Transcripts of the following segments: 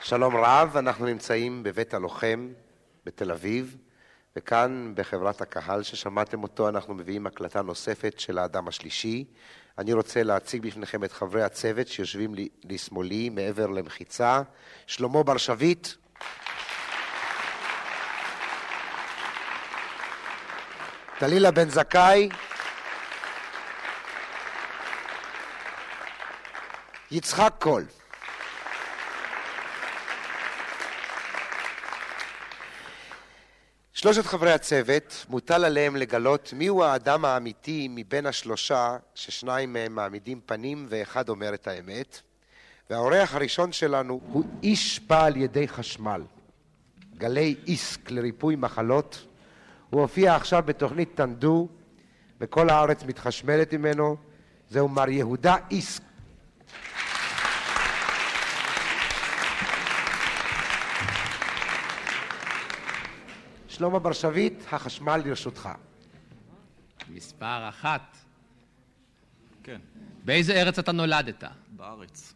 שלום רב, אנחנו נמצאים בבית הלוחם בתל אביב, וכאן בחברת הקהל ששמעתם אותו אנחנו מביאים הקלטה נוספת של האדם השלישי. אני רוצה להציג בפניכם את חברי הצוות שיושבים לי- לשמאלי מעבר למחיצה. שלמה בר שביט, טלילה בן זכאי, יצחק קול. שלושת חברי הצוות, מוטל עליהם לגלות מיהו האדם האמיתי מבין השלושה, ששניים מהם מעמידים פנים ואחד אומר את האמת. והאורח הראשון שלנו הוא איש בעל ידי חשמל, גלי איסק לריפוי מחלות. הוא הופיע עכשיו בתוכנית טנדו, וכל הארץ מתחשמלת ממנו. זהו מר יהודה איסק. שלמה בר שביט, החשמל לרשותך. מספר אחת. כן, באיזה ארץ אתה נולדת? בארץ.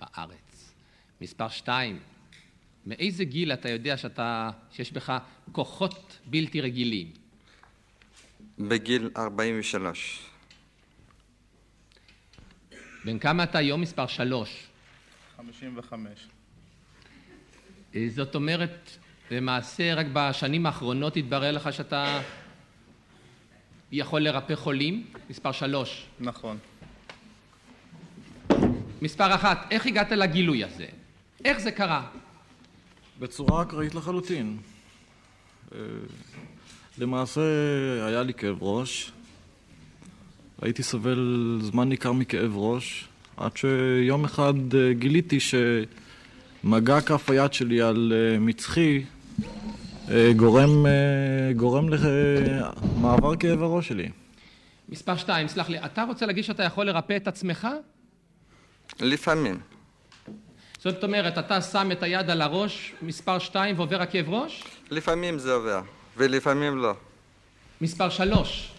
בארץ. מספר שתיים. מאיזה גיל אתה יודע שאתה, שיש בך כוחות בלתי רגילים? בגיל 43, בן כמה אתה היום? מספר שלוש. 55. אה, זאת אומרת, למעשה רק בשנים האחרונות התברר לך שאתה יכול לרפא חולים? מספר שלוש. נכון. מספר אחת, איך הגעת לגילוי הזה? איך זה קרה? בצורה אקראית לחלוטין. אה, למעשה היה לי כאב ראש. הייתי סובל זמן ניכר מכאב ראש, עד שיום אחד אה, גיליתי שמגע כף היד שלי על אה, מצחי אה, גורם, אה, גורם למעבר כאב הראש שלי. מספר שתיים, סלח לי, אתה רוצה להגיד שאתה יכול לרפא את עצמך? לפעמים, זאת אומרת, אתה שם את היד על הראש, מספר 2, ועובר הכאב ראש? לפעמים זה עובר, ולפעמים לא. מספר 3,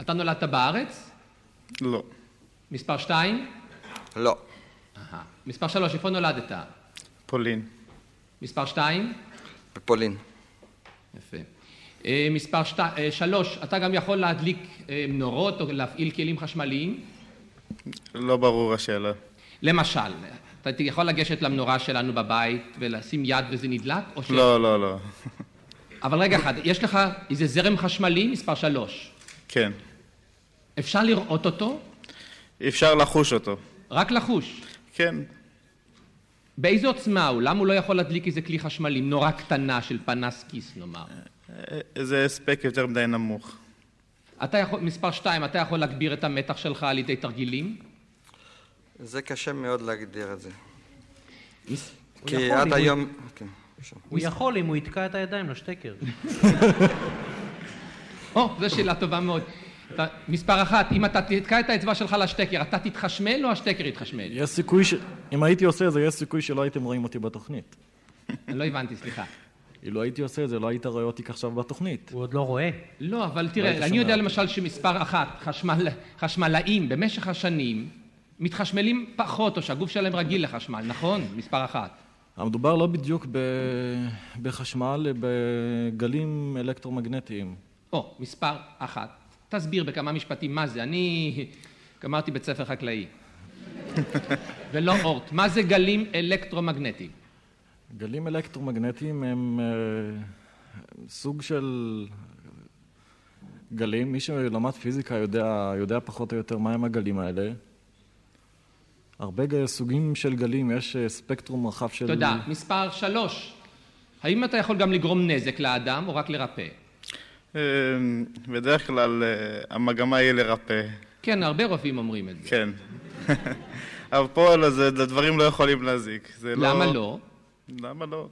אתה נולדת בארץ? לא. מספר 2? לא, אה, מספר 3, איפה נולדת? פולין. מספר 2? בפולין, יפה. אה, מספר 3, אתה גם יכול להדליק אה, נורות או להפעיל כלים חשמליים? לא ברור השאלה. למשל, אתה יכול לגשת למנורה שלנו בבית ולשים יד וזה נדלק? או ש... לא, לא. אבל רגע אחד, יש לך איזה זרם חשמלי? מספר 3. כן. אפשר לראות אותו? אפשר לחוש אותו. רק לחוש. כן. באיזה עוצמה הוא? למה הוא לא יכול להדליק איזה כלי חשמלי, נורה קטנה של פנס כיס נאמר? אה. זה הספק יותר מדי נמוך. אתה יכול, מספר שתיים, אתה יכול להגביר את המתח שלך על ידי תרגילים? זה קשה מאוד להגדיר את זה. מס- הוא כי יכול, עד אם הוא- היום... כן, בבקשה. הוא יכול אם הוא יתקע את הידיים לשטקר. או, זו שאלה טובה מאוד. אתה- מספר אחת, אם אתה תתקע את האצבע שלך לשטקר, אתה תתחשמל או השטקר יתחשמל? יש סיכוי ש... אם הייתי עושה את זה, יש סיכוי שלא הייתם רואים אותי בתוכנית. אני לא הבנתי, סליחה. אילו הייתי עושה את זה, לא היית רואה אותי עכשיו בתוכנית. הוא עוד לא רואה. לא, אבל תראה, היית אני שומע יודע אותי. למשל שמספר אחת, חשמל, חשמלאים במשך השנים מתחשמלים פחות, או שהגוף שלהם רגיל לחשמל, נכון? מספר אחת. המדובר לא בדיוק ב... בחשמל, אלא בגלים אה, אלקטרומגנטיים. או, מספר אחת. תסביר בכמה משפטים מה זה. אני גמרתי בית ספר חקלאי. ולא אורט. מה זה גלים אלקטרומגנטיים? גלים אלקטרומגנטיים הם אה, סוג של גלים. מי שלמד פיזיקה יודע, יודע פחות או יותר מהם הגלים האלה. הרבה ג- סוגים של גלים, יש אה, ספקטרום רחב של... תודה. מספר שלוש. האם אתה יכול גם לגרום נזק לאדם או רק לרפא? אה, בדרך כלל אה, המגמה היא לרפא, כן, הרבה רופאים אומרים את זה. כן. אבל פה לא, זה- לדברים לא יכולים להזיק. זה למה לא? למה לא?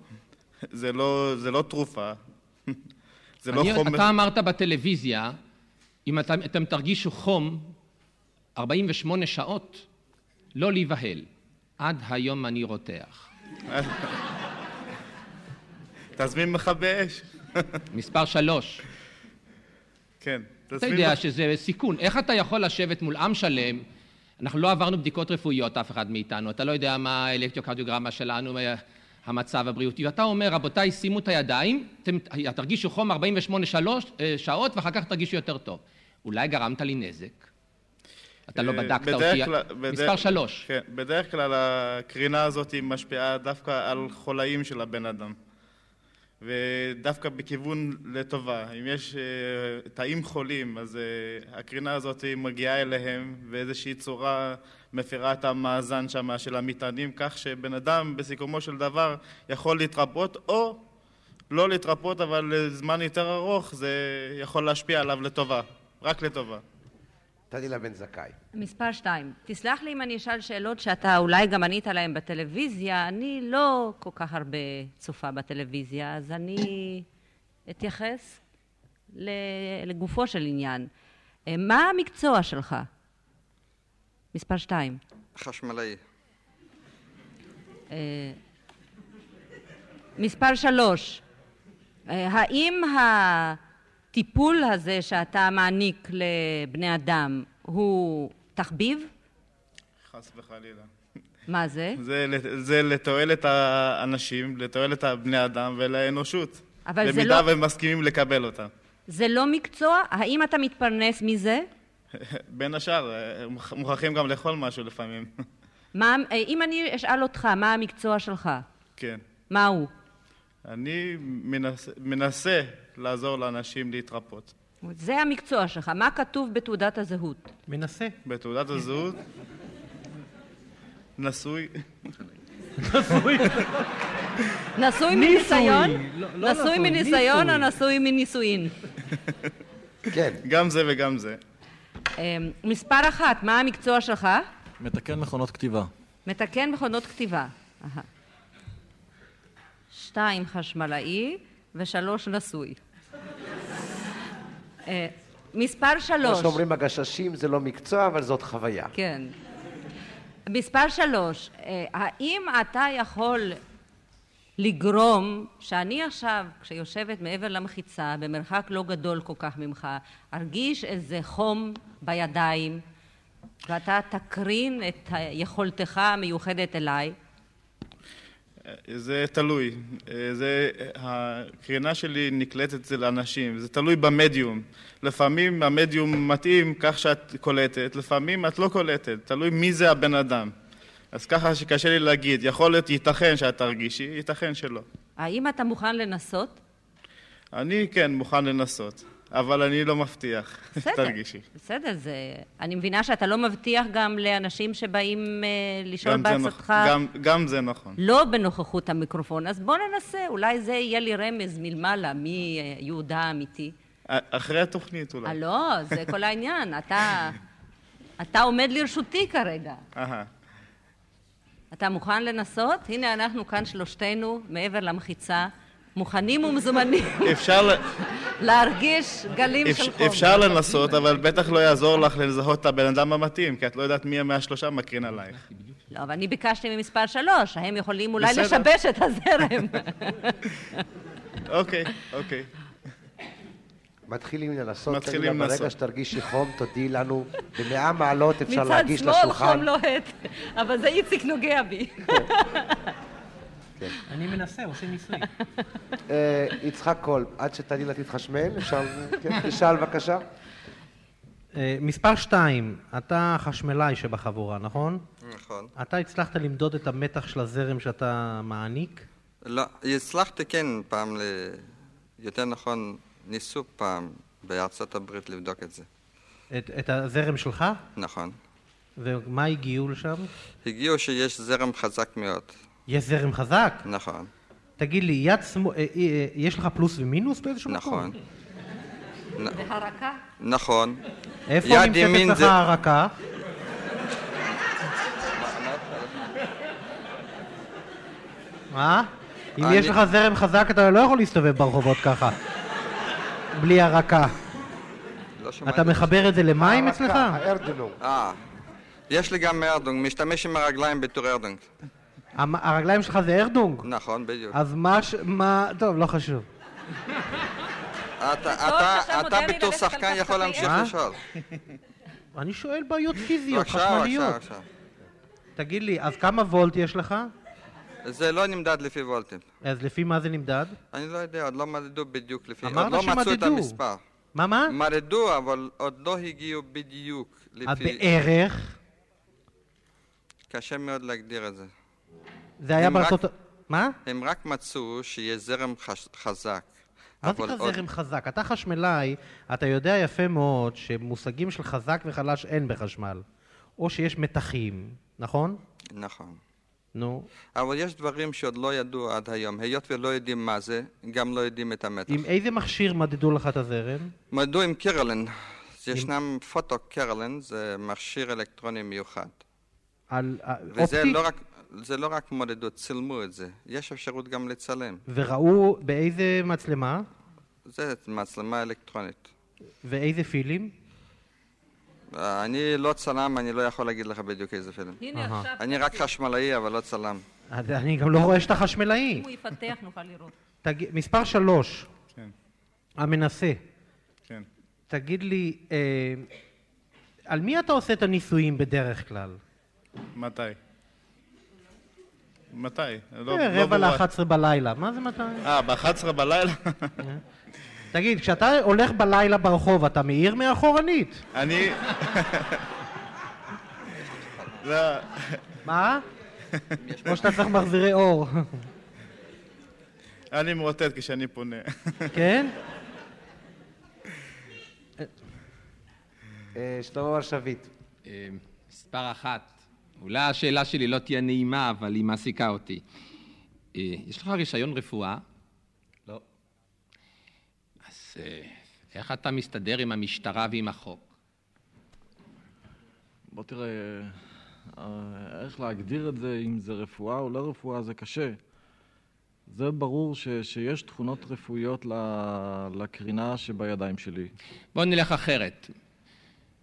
זה לא, זה לא תרופה. זה לא אני- חומר... אתה אמרת בטלוויזיה, אם אתם- אתם תרגישו חום 48 שעות, לא להיבהל. עד היום אני רותח. תזמין מכבי אש. מספר שלוש. כן. אתה תזמין יודע מח- שזה סיכון. איך אתה יכול לשבת מול עם שלם אנחנו לא עברנו בדיקות רפואיות, אף אחד מאיתנו. אתה לא יודע מה האלקטרוקרדיוגרמה שלנו, מה המצב הבריאותי. ואתה אומר, רבותיי, שימו את הידיים, אתם תרגישו חום 48 שלוש- אה, שעות, ואחר כך תרגישו יותר טוב. אולי גרמת לי נזק. אתה לא אה, בדקת בדרך אותי. כלל- בדרך- מספר שלוש. כן, בדרך כלל הקרינה הזאת משפיעה דווקא על חולאים של הבן אדם. ודווקא בכיוון לטובה. אם יש אה, תאים חולים, אז אה, הקרינה הזאת מגיעה אליהם באיזושהי צורה מפרה את המאזן שם של המטענים, כך שבן אדם בסיכומו של דבר יכול להתרפות, או לא להתרפות, אבל לזמן יותר ארוך זה יכול להשפיע עליו לטובה. רק לטובה. תדילה בן זכאי. מספר שתיים, תסלח לי אם אני אשאל שאלות שאתה אולי גם ענית עליהן בטלוויזיה, אני לא כל כך הרבה צופה בטלוויזיה, אז אני אתייחס ל- לגופו של עניין. אה, מה המקצוע שלך? מספר שתיים. חשמלאי. אה, מספר שלוש, אה, האם הטיפול הזה שאתה מעניק לבני אדם הוא תחביב? חס וחלילה. מה זה? זה, לת- זה לתועלת האנשים, לתועלת הבני אדם ולאנושות. אבל זה במידה לא- והם מסכימים לקבל אותה. זה לא מקצוע? האם אתה מתפרנס מזה? בין השאר, אה, מוכ- מוכרחים גם לאכול משהו לפעמים. מה, אה, אם אני אשאל אותך, מה המקצוע שלך? כן. מה הוא? אני מנס, מנסה לעזור לאנשים להתרפות. זה המקצוע שלך. מה כתוב בתעודת הזהות? מנסה. בתעודת הזהות, נשוי, נשוי מניסיון? לא- לא נשוי נשוי, מניסיון או ניסוי. נשוי מנישואין? כן, גם זה וגם זה. אה, מספר אחת, מה המקצוע שלך? מתקן מכונות כתיבה. מתקן מכונות כתיבה. אהה. שתיים, חשמלאי, ושלוש, נשוי. אה, מספר כמו שלוש. שאומרים הגששים זה לא מקצוע, אבל זאת חוויה. כן. מספר שלוש, אה, האם אתה יכול לגרום שאני עכשיו, כשיושבת מעבר למחיצה, במרחק לא גדול כל כך ממך, ארגיש איזה חום בידיים, ואתה תקרין את יכולתך המיוחדת אליי? זה תלוי. אה, זה, הקרינה שלי נקלטת אצל אנשים, זה תלוי במדיום. לפעמים המדיום מתאים כך שאת קולטת, לפעמים את לא קולטת, תלוי מי זה הבן אדם. אז ככה שקשה לי להגיד, יכול להיות, ייתכן שאת תרגישי, ייתכן שלא. האם אתה מוכן לנסות? אני כן מוכן לנסות, אבל אני לא מבטיח, תרגישי. בסדר, זה... אני מבינה שאתה לא מבטיח גם לאנשים שבאים אה, לשאול גם זה, נכ... בעצתך. גם, גם זה נכון. לא בנוכחות המיקרופון, אז בוא ננסה, אולי זה יהיה לי רמז מלמעלה מי אה, יהודה האמיתי. א- אה, אחרי התוכנית אה, אולי. לא, זה כל העניין, אתה, אתה עומד לרשותי כרגע. אהה. אתה מוכן לנסות? הנה אנחנו כאן שלושתנו, מעבר למחיצה, מוכנים ומזומנים אפשר, ל- להרגיש גלים אפ- של חום. אפשר לנסות, אבל בטח לא יעזור לך לזהות את הבן אדם המתאים, כי את לא יודעת מי מהשלושה מקרין עלייך. לא, אבל אני ביקשתי ממספר שלוש, הם יכולים אולי בסדר. לשבש את הזרם. אוקיי, אוקיי. מתחילים לנסות, מתחילים תגידי לה, ברגע לנסות. שתרגישי חום, תודיעי לנו, במאה מעלות אפשר מצד להגיש שמאל לשולחן. חום לא- לוהט, אבל זה איציק נוגע בי. אני מנסה, עושה ניסוי. אה, יצחק קול, עד שתדילה תתחשמל, אפשר... כן, תשאל בבקשה. אה, מספר שתיים, אתה חשמלאי שבחבורה, נכון? נכון. אתה הצלחת למדוד את המתח של הזרם שאתה מעניק? לא, הצלחתי כן פעם, ל... יותר נכון, ניסו פעם בארצות הברית לבדוק את זה. את, את הזרם שלך? נכון. ומה הגיעו לשם? הגיעו שיש זרם חזק מאוד. יש זרם חזק? נכון. תגיד לי, יד שמאל, אה, אה, אה, יש לך פלוס ומינוס באיזשהו מקום? נכון. הרקה? נכון. איפה יד נמצאת ימין לך זה- הרקה? מה? אם אני- יש לך זרם חזק אתה לא יכול להסתובב ברחובות ככה. בלי הרקה. לא שמעתי. אתה מחבר את זה למים הרקה, אצלך? הארדנום. אה. יש לי גם ארדונג, משתמש עם הרגליים בתור ארדונג. המ- הרגליים שלך זה ארדונג? נכון, בדיוק. אז מה ש... מה... טוב, לא חשוב. אתה- עכשיו אתה מותר אתה לי בתור ללכת על שחקן כף יכול כפי להמשיך אה? לשאול. אני שואל בעיות פיזיות, עכשיו, עכשיו, חשמליות. עכשיו. תגיד לי, אז כמה וולט יש לך? זה לא נמדד לפי וולטים. אז לפי מה זה נמדד? אני לא יודע, עוד לא מדדו בדיוק לפי... אמרת עוד לא מצאו את שמדדו. המספר. מה, מה? מרדו, אבל עוד לא הגיעו בדיוק אז לפי... אה, בערך, קשה מאוד להגדיר את זה. זה היה הם רק- בארצות... מה? הם רק מצאו שיש זרם חש- חזק. מה זה אבל נקרא עוד- זרם חזק? אתה חשמלאי, אתה יודע יפה מאוד שמושגים של חזק וחלש אין בחשמל. או שיש מתחים, נכון? נכון. נו. אבל יש דברים שעוד לא ידעו עד היום. היות ולא יודעים מה זה, גם לא יודעים את המתח. עם איזה מכשיר מדדו לך את הזרם? מדוע עם קרלן? אז ישנם פוטו קרלן, זה מכשיר אלקטרוני מיוחד. על אה, וזה אופטי? לא רק, זה לא רק מודדות, צילמו את זה. יש אפשרות גם לצלם. וראו באיזה מצלמה זה מצלמה אלקטרונית. ואיזה פילים? אה, אני לא צלם, אני לא יכול להגיד לך בדיוק איזה פילם. הנה אהה. עכשיו, אני רק חשמלאי, אבל לא צלם. אני גם לא רואה שאתה חשמלאי. אם הוא יפתח נוכל לראות. תגיד- מספר שלוש, כן, המנסה. כן. תגיד לי, אה, על מי אתה עושה את הניסויים בדרך כלל? מתי? מתי? לא, אה, לא רבע ברורה. ל-11 בלילה, מה זה מתי? אה, ב-11 בלילה? תגיד, כשאתה הולך בלילה ברחוב, אתה מאיר מאחורנית? אני... לא, מה? או שאתה צריך מחזירי אור, אני מאותת כשאני פונה. כן? שלמה שביט. אה, מספר אחת, אולי השאלה שלי לא תהיה נעימה, אבל היא מעסיקה אותי. אה, יש לך רישיון רפואה? לא. אז אה, איך אתה מסתדר עם המשטרה ועם החוק? בוא תראה, אה, איך להגדיר את זה, אם זה רפואה או לא רפואה, זה קשה. זה ברור ש, שיש תכונות רפואיות ל- לקרינה שבידיים שלי. בוא נלך אחרת.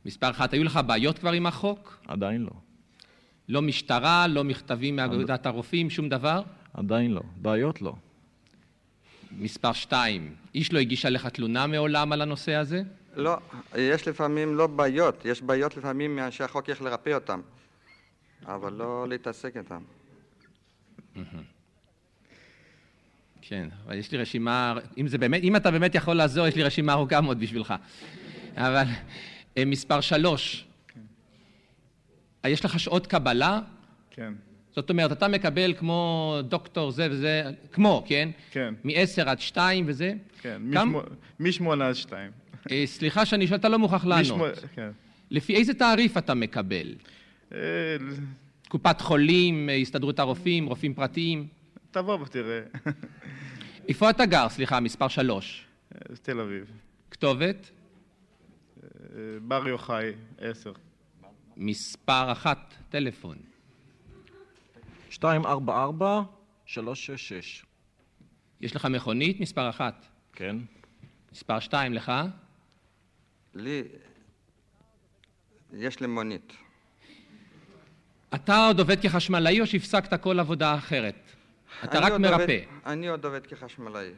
מספר אחת, היו לך בעיות כבר עם החוק? עדיין לא. לא משטרה, לא מכתבים מאגודת הרופאים, שום דבר? עדיין לא. בעיות לא. מספר שתיים, איש לא הגיש עליך תלונה מעולם על הנושא הזה? לא, יש לפעמים לא בעיות, יש בעיות לפעמים מה שהחוק איך לרפא אותם, אבל לא להתעסק איתם. כן, אבל יש לי רשימה, אם, זה באמת, אם אתה באמת יכול לעזור, יש לי רשימה ארוכה מאוד בשבילך. אבל אה, מספר שלוש, אה, יש לך שעות קבלה? כן, זאת אומרת, אתה מקבל כמו דוקטור זה וזה, כמו, כן? כן. מ-10 עד 2 וזה? כן. גם, משמו- משמונה עד שתיים. אה, סליחה שאני שואל, אתה לא מוכרח לענות. משמו- כן. לפי איזה תעריף אתה מקבל? אה, ל- קופת חולים, אה, הסתדרות הרופאים, רופאים פרטיים? תבוא ותראה. איפה אתה גר? סליחה, מספר 3. אה, תל אביב. כתובת? אה, בר יוחאי, עשר. מספר 1, טלפון. 244 366. יש לך מכונית? מספר 1. כן? מספר 2 לך? לי, יש לי מונית. אתה עוד עובד כחשמלאי או שהפסקת כל עבודה אחרת? אתה אני רק עוד מרפא. עובד- אני עוד עובד כחשמלאי.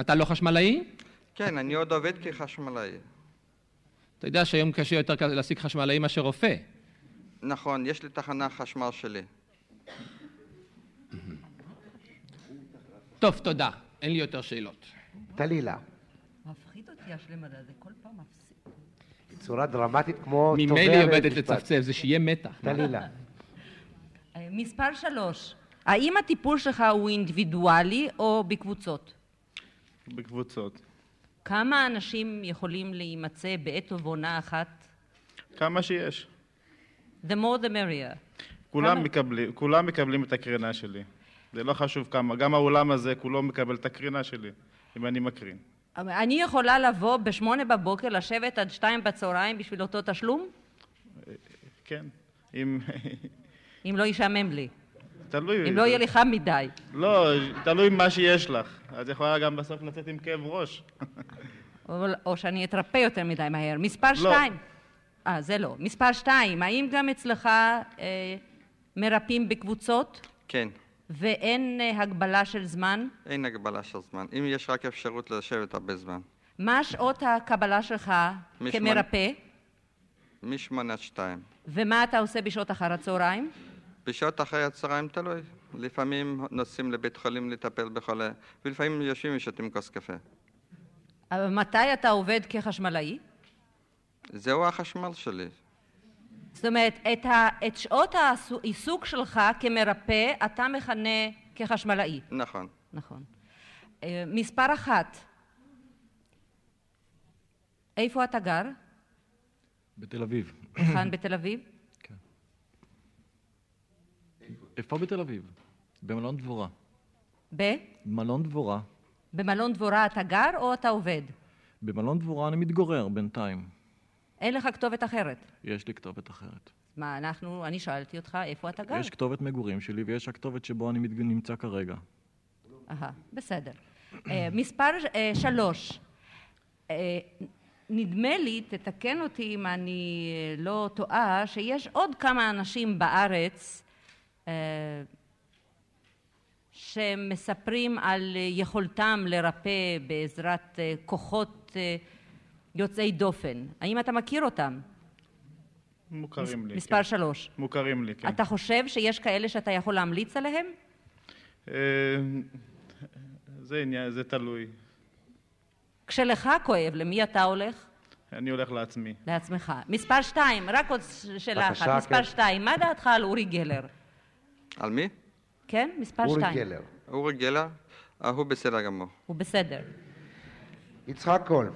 אתה לא חשמלאי? כן, אני עוד עובד כחשמלאי. אתה יודע שהיום קשה יותר להשיג חשמלאי מאשר רופא. נכון, יש לי תחנה חשמל שלי. טוב, תודה. אין לי יותר שאלות. טלילה. מפחיד אותי השלם הזה, זה כל פעם מפסיק. צורה דרמטית כמו תובע ממילא היא עובדת בבית משפט. לצפצף, זה שיהיה מתח. טלילה. אה, מספר שלוש, האם הטיפול שלך הוא אינדיבידואלי או בקבוצות? בקבוצות. כמה אנשים יכולים להימצא בעת ובעונה אחת? כמה שיש. The more the merrier. כולם כמה? מקבלים, כולם מקבלים את הקרינה שלי. זה לא חשוב כמה. גם האולם הזה כולו מקבל את הקרינה שלי, אם אני מקרין. אבל אני יכולה לבוא בשמונה בבוקר, לשבת עד שתיים בצהריים בשביל אותו תשלום? כן. אם... אם לא יישמם לי. תלוי. אם לא יהיה לי חם מדי. לא, תלוי מה שיש לך. את יכולה גם בסוף לצאת עם כאב ראש. או, או שאני אתרפא יותר מדי מהר. מספר לא. שתיים. אה, זה לא. מספר שתיים, האם גם אצלך אה, מרפאים בקבוצות כן, ואין אה, הגבלה של זמן? אין הגבלה של זמן. אם יש רק אפשרות לשבת הרבה זמן. מה שעות הקבלה שלך משמונה- כמרפא? מ-8 עד 2. ומה אתה עושה בשעות אחר הצהריים? בשעות אחרי הצהריים תלוי. לפעמים נוסעים לבית חולים לטפל בחולה, ולפעמים יושבים ושותים כוס קפה. אבל אה, מתי אתה עובד כחשמלאי? זהו החשמל שלי. זאת אומרת, את, ה, את שעות העיסוק שלך כמרפא אתה מכנה כחשמלאי. נכון. נכון. אה, מספר אחת, איפה אתה גר? בתל אביב. כאן בתל אביב? איפה בתל אביב? במלון דבורה. ב? מלון דבורה. במלון דבורה אתה גר או אתה עובד? במלון דבורה אני מתגורר בינתיים. אין לך כתובת אחרת. יש לי כתובת אחרת. מה, אנחנו, אני שאלתי אותך איפה אתה גר. יש כתובת מגורים שלי ויש הכתובת שבו אני מת- נמצא כרגע. אהה, בסדר. אה, מספר אה, שלוש. אה, נדמה לי, תתקן אותי אם אני אה, לא טועה, שיש עוד כמה אנשים בארץ אה, שמספרים על אה, יכולתם לרפא בעזרת אה, כוחות אה, יוצאי דופן. האם אתה מכיר אותם? מוכרים לי. מספר כן. שלוש. מוכרים לי, כן. אתה חושב שיש כאלה שאתה יכול להמליץ עליהם? אה, זה עניין, זה תלוי. כשלך כואב, למי אתה הולך? אני הולך לעצמי. לעצמך. מספר שתיים, רק עוד ש- שאלה אחת. בבקשה, מספר כן. שתיים, מה דעתך על אורי גלר? על מי? כן? מספר אורי שתיים. גלר. אורי גלר? אה, הוא בסדר גמור. הוא בסדר. יצחק קול,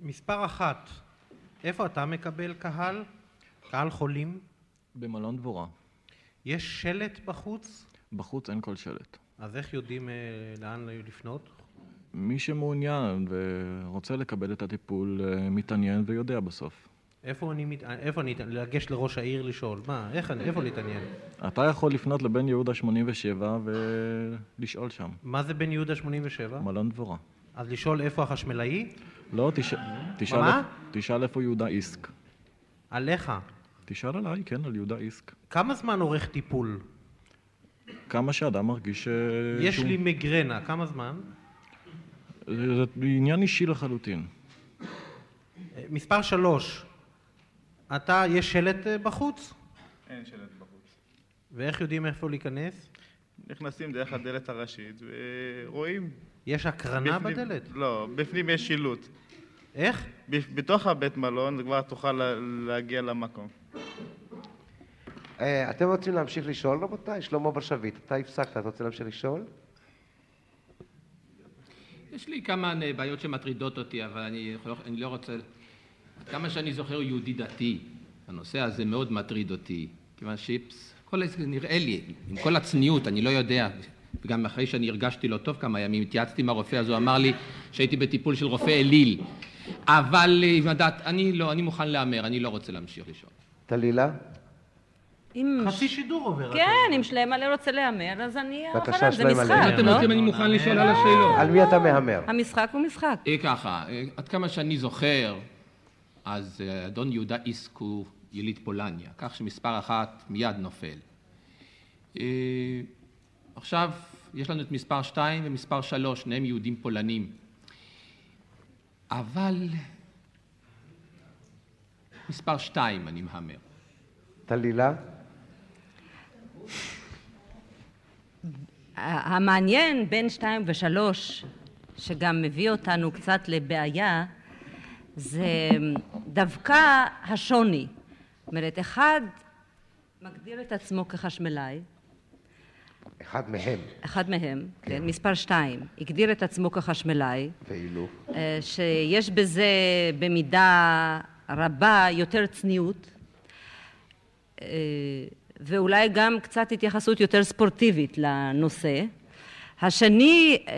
מספר אחת, איפה אתה מקבל קהל? קהל חולים? במלון דבורה. יש שלט בחוץ? בחוץ אין כל שלט. אז איך יודעים אה, לאן לפנות? מי שמעוניין ורוצה לקבל את הטיפול אה, מתעניין ויודע בסוף. איפה אני, מת... איפה אני, לגש לראש העיר לשאול, מה, איך אני, איפה להתעניין? אתה יכול לפנות לבן יהודה 87 ולשאול שם. מה זה בן יהודה 87? מלון דבורה. אז לשאול איפה החשמלאי? לא, תש... תשאל, מה? תשאל איפה יהודה איסק. עליך. תשאל עליי, כן, על יהודה איסק. כמה זמן אורך טיפול? כמה שאדם מרגיש... אה, יש שהוא- לי מיגרנה, כמה זמן? זה זה עניין אישי לחלוטין. אה, מספר שלוש, אתה, יש שלט אה, בחוץ? אין שלט בחוץ. ואיך יודעים איפה להיכנס? נכנסים דרך הדלת הראשית ורואים. יש הקרנה בפנים- בדלת? לא, בפנים יש שילוט. איך? ב- בתוך הבית מלון כבר תוכל לה- להגיע למקום. אה, אתם רוצים להמשיך לשאול, רבותיי? שלמה ברשבית, אתה הפסקת, אתה רוצה להמשיך לשאול? יש לי כמה אה, בעיות שמטרידות אותי, אבל אני, יכול- אני לא רוצה... עד כמה שאני זוכר, הוא יהודי דתי. הנושא הזה מאוד מטריד אותי, כיוון שיפס, כל זה נראה לי, עם כל הצניעות, אני לא יודע. וגם אחרי שאני הרגשתי לא טוב כמה ימים, התייעצתי עם הרופא, אז הוא אמר לי שהייתי בטיפול של רופא אליל. אבל אה, עם הדת, אני לא, אני מוכן להמר, אני לא רוצה להמשיך לשאול. טלילה? לא, אם... חצי שידור עובר. כן, אם שלמה לא רוצה להמר, אז אני... בבקשה, אחריו, זה שלמה, אם להמר. משחק, אתם לא? רוצים, אני מוכן לשאול על השאלות. על מי אתה מהמר? המשחק הוא משחק. אה, ככה, אה, עד כמה שאני זוכר, אז אה, אדון יהודה איסק הוא יליד פולניה, כך שמספר אחת מיד נופל. אה, עכשיו, יש לנו את מספר שתיים ומספר שלוש, שניהם יהודים פולנים. אבל מספר שתיים, אני מהמר. טלילה? ה- המעניין בין שתיים ושלוש, שגם מביא אותנו קצת לבעיה, זה דווקא השוני. זאת אומרת, אחד מגדיר את עצמו כחשמלאי, אחד מהם, אחד מהם, כן, מספר שתיים, הגדיר את עצמו כחשמלאי, ואילו. אה, שיש בזה במידה רבה יותר צניעות, אה, ואולי גם קצת התייחסות יותר ספורטיבית לנושא. השני אה,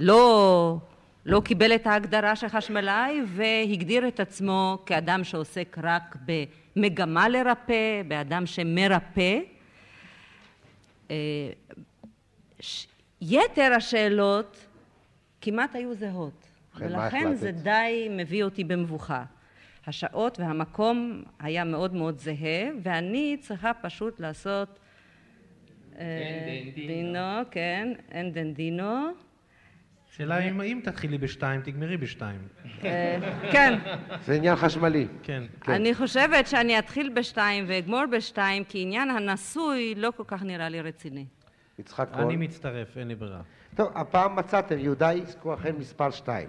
לא, לא קיבל את ההגדרה של חשמלאי והגדיר את עצמו כאדם שעוסק רק במגמה לרפא, באדם שמרפא. אה, ש- יתר השאלות כמעט היו זהות, ובכן, מה ולכן זה החלטת? די מביא אותי במבוכה. השעות והמקום היה מאוד מאוד זהה, ואני צריכה פשוט לעשות... אה, דנדינו. דינו, כן, אין דנדינו. שאלה אם- אם תתחילי בשתיים, תגמרי בשתיים. אה, כן, זה עניין חשמלי. כן. אני חושבת שאני אתחיל בשתיים ואגמור בשתיים, כי עניין הנשוי לא כל כך נראה לי רציני. יצחק כהן. אני מצטרף, אין לי ברירה. טוב, הפעם מצאתם, יהודה איש כהן מספר 2.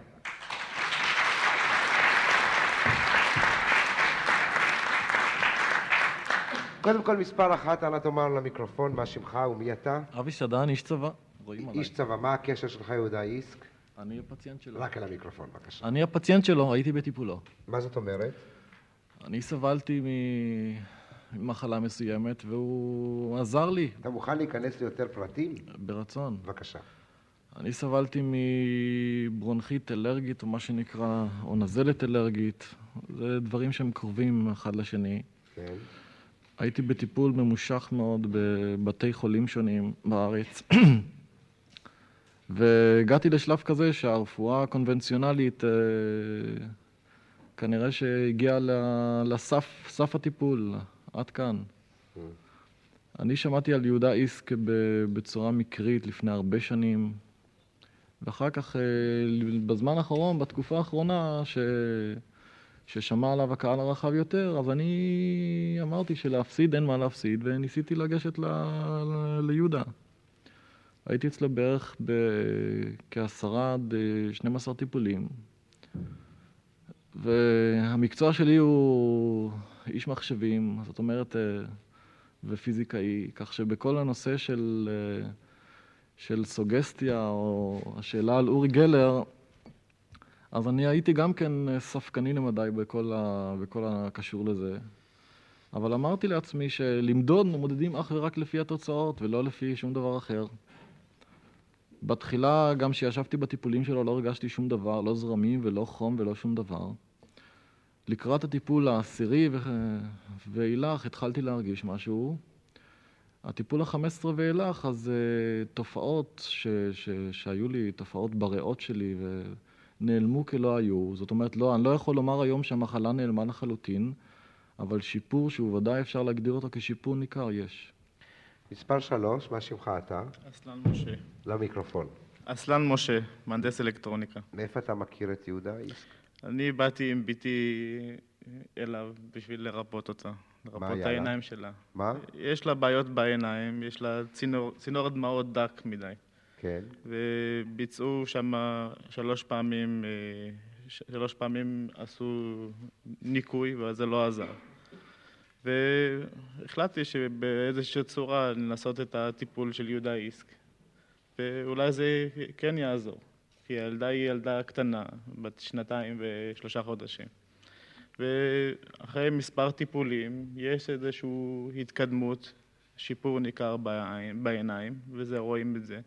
קודם כל, מספר אחת, אנא תאמר למיקרופון מה שמך ומי אתה. אבי שדן, איש צבא. רואים עליי. איש צבא, מה הקשר שלך, יהודה איסק? אני הפציינט שלו. רק אל המיקרופון, בבקשה. אני הפציינט שלו, הייתי בטיפולו. מה זאת אומרת? אני סבלתי מ- ממחלה מסוימת, והוא עזר לי, אתה מוכן להיכנס ליותר פרטים? ברצון. בבקשה. אני סבלתי מברונכית אלרגית, או מה שנקרא, או נזלת אלרגית. זה דברים שהם קרובים אחד לשני. כן. הייתי בטיפול ממושך מאוד בבתי חולים שונים בארץ, והגעתי לשלב כזה שהרפואה הקונבנציונלית אה, כנראה שהגיעה ל- לסף סף הטיפול, עד כאן. אני שמעתי על יהודה איסק ב- בצורה מקרית לפני הרבה שנים, ואחר כך, אה, בזמן האחרון, בתקופה האחרונה, ש... ששמע עליו הקהל הרחב יותר, אז אני אמרתי שלהפסיד אין מה להפסיד, וניסיתי לגשת ל... ל... ליהודה. הייתי אצלו בערך בכעשרה עד אה, 12 טיפולים, והמקצוע שלי הוא איש מחשבים, זאת אומרת, אה, ופיזיקאי, כך שבכל הנושא של, אה, של סוגסטיה, או השאלה על אורי גלר, אז אני הייתי גם כן אה, ספקני למדי בכל, ה... בכל הקשור לזה. אבל אמרתי לעצמי שלמדוד מודדים אך ורק לפי התוצאות ולא לפי שום דבר אחר. בתחילה, גם כשישבתי בטיפולים שלו, לא הרגשתי שום דבר, לא זרמים ולא חום ולא שום דבר. לקראת הטיפול העשירי ו- ואילך התחלתי להרגיש משהו. הטיפול ה-15 ואילך, אז uh, תופעות ש- ש- שהיו לי, תופעות בריאות שלי, ונעלמו כלא היו. זאת אומרת, לא, אני לא יכול לומר היום שהמחלה נעלמה לחלוטין, אבל שיפור שהוא ודאי אפשר להגדיר אותו כשיפור ניכר, יש. מספר 3, מה שמך אתה? אסלן משה. למיקרופון. אסלן משה, מהנדס אלקטרוניקה. מאיפה אתה מכיר את יהודה איסק? אני באתי עם בתי אליו בשביל לרפות אותה. מה לרפות היה את לה? העיניים שלה. מה? יש יש לה בעיות בעיניים, יש לה צינור, צינור דמעות דק מדי. כן. וביצעו שם שלוש פעמים, אה, ש- שלוש פעמים עשו ניקוי, אבל זה לא עזר. והחלטתי שבאיזושהי צורה לנסות את הטיפול של יהודה איסק, ואולי זה כן יעזור, כי הילדה היא ילדה קטנה, בת שנתיים ושלושה חודשים. ואחרי מספר טיפולים, יש איזושהי התקדמות, שיפור ניכר בעין- בעיניים, וזה, רואים את זה.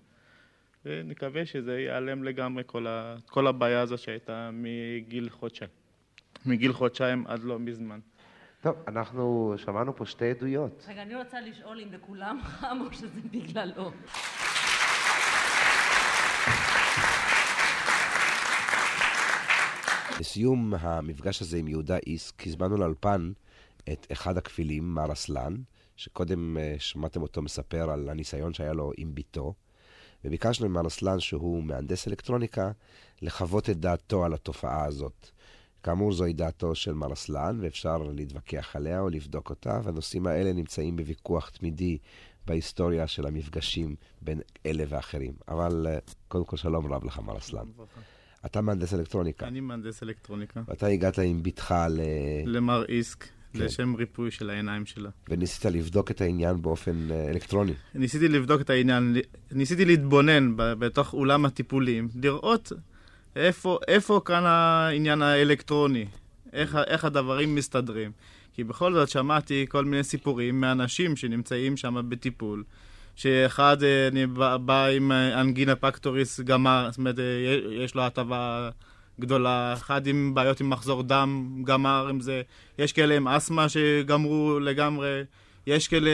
ונקווה שזה ייעלם לגמרי, כל, ה, כל הבעיה הזו שהייתה מגיל חודשיים. מגיל חודשיים עד לא מזמן. טוב, אנחנו שמענו פה שתי עדויות. רגע, אני רוצה לשאול אם לכולם חם או שזה בגללו. לסיום המפגש הזה עם יהודה איסק, הזמנו לאולפן את אחד הכפילים, מר אסלן, שקודם אה, שמעתם אותו מספר על הניסיון שהיה לו עם בתו, וביקשנו ממר אסלן, שהוא מהנדס אלקטרוניקה, לחוות את דעתו על התופעה הזאת. כאמור, זוהי דעתו של מר אסלן, ואפשר להתווכח עליה או לבדוק אותה, והנושאים האלה נמצאים בוויכוח תמידי בהיסטוריה של המפגשים בין אלה ואחרים. אבל אה, קודם כל, שלום רב לך, מר אסלן. אתה מהנדס אלקטרוניקה. אני מהנדס אלקטרוניקה. ואתה הגעת עם בתך ל... למר איסק, לשם ריפוי של העיניים שלה. וניסית לבדוק את העניין באופן אה, אלקטרוני. ניסיתי לבדוק את העניין, ניסיתי להתבונן ב- בתוך אולם הטיפולים, לראות איפה, איפה כאן העניין האלקטרוני, איך, ה- איך הדברים מסתדרים. כי בכל זאת שמעתי כל מיני סיפורים מאנשים שנמצאים שם בטיפול, שאחד אה, אני בא, בא עם אה, אנגינה פקטוריס גמר, זאת אומרת, אה, יה- יש לו הטבה גדולה, אחד עם בעיות עם מחזור דם גמר עם זה, יש כאלה עם אסתמה שגמרו לגמרי. יש כאלה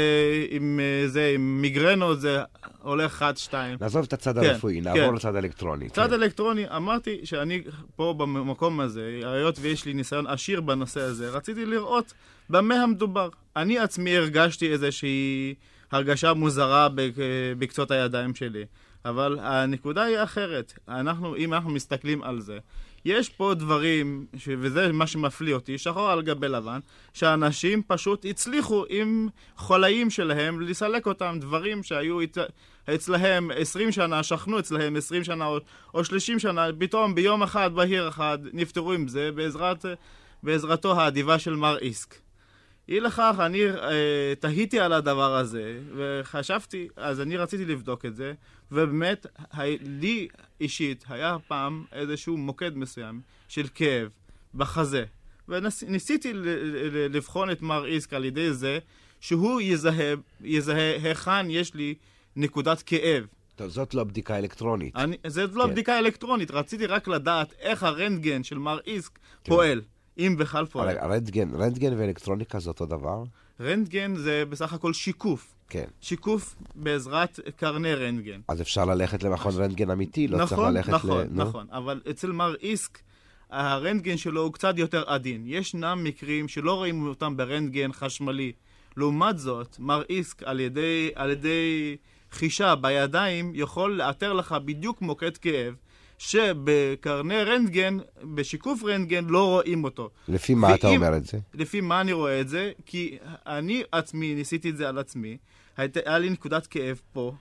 עם אה, זה, עם מיגרנות, זה הולך אחת, שתיים. נעזוב את הצד כן, הרפואי, כן. נעבור לצד האלקטרוני. צד כן. אלקטרוני, אמרתי שאני פה במקום הזה, היות ויש לי ניסיון עשיר בנושא הזה, רציתי לראות במה המדובר. אני עצמי הרגשתי איזושהי הרגשה מוזרה בק- בקצות הידיים שלי. אבל הנקודה היא אחרת. אנחנו, אם אנחנו מסתכלים על זה, יש פה דברים, ש... וזה מה שמפליא אותי, שחור על גבי לבן, שאנשים פשוט הצליחו עם חולאים שלהם לסלק אותם, דברים שהיו אית... אצלהם 20 שנה, שכנו אצלהם 20 שנה או, או 30 שנה, פתאום ביום אחד, בהיר אחד, נפטרו עם זה בעזרת, בעזרתו האדיבה של מר איסק. אי לכך, אני אה, תהיתי על הדבר הזה, וחשבתי, אז אני רציתי לבדוק את זה, ובאמת, ה- לי אישית היה פעם איזשהו מוקד מסוים של כאב בחזה, וניסיתי ל- ל- לבחון את מר איסק על ידי זה שהוא יזהה, יזהה היכן יש לי נקודת כאב. טוב, זאת לא בדיקה אלקטרונית. אני, זאת לא כן. בדיקה אלקטרונית, רציתי רק לדעת איך הרנטגן של מר איסק כן. פועל, אם בכלל פועל. הרי רנטגן, רנטגן ואלקטרוניקה זה אותו דבר? רנטגן זה בסך הכל שיקוף. כן. שיקוף בעזרת קרני רנטגן. אז אפשר ללכת למכון רנטגן אמיתי, לא צריך ללכת נכון, ל... נו. נכון, אבל אצל מר איסק, הרנטגן שלו הוא קצת יותר עדין. ישנם מקרים שלא רואים אותם ברנטגן חשמלי. לעומת זאת, מר איסק על ידי, על ידי חישה בידיים יכול לאתר לך בדיוק מוקד כאב, שבקרני רנטגן, בשיקוף רנטגן, לא רואים אותו. לפי מה אתה ואם- אומר את זה? לפי מה אני רואה את זה? כי אני עצמי, ניסיתי את זה על עצמי, היית, היה לי נקודת כאב פה,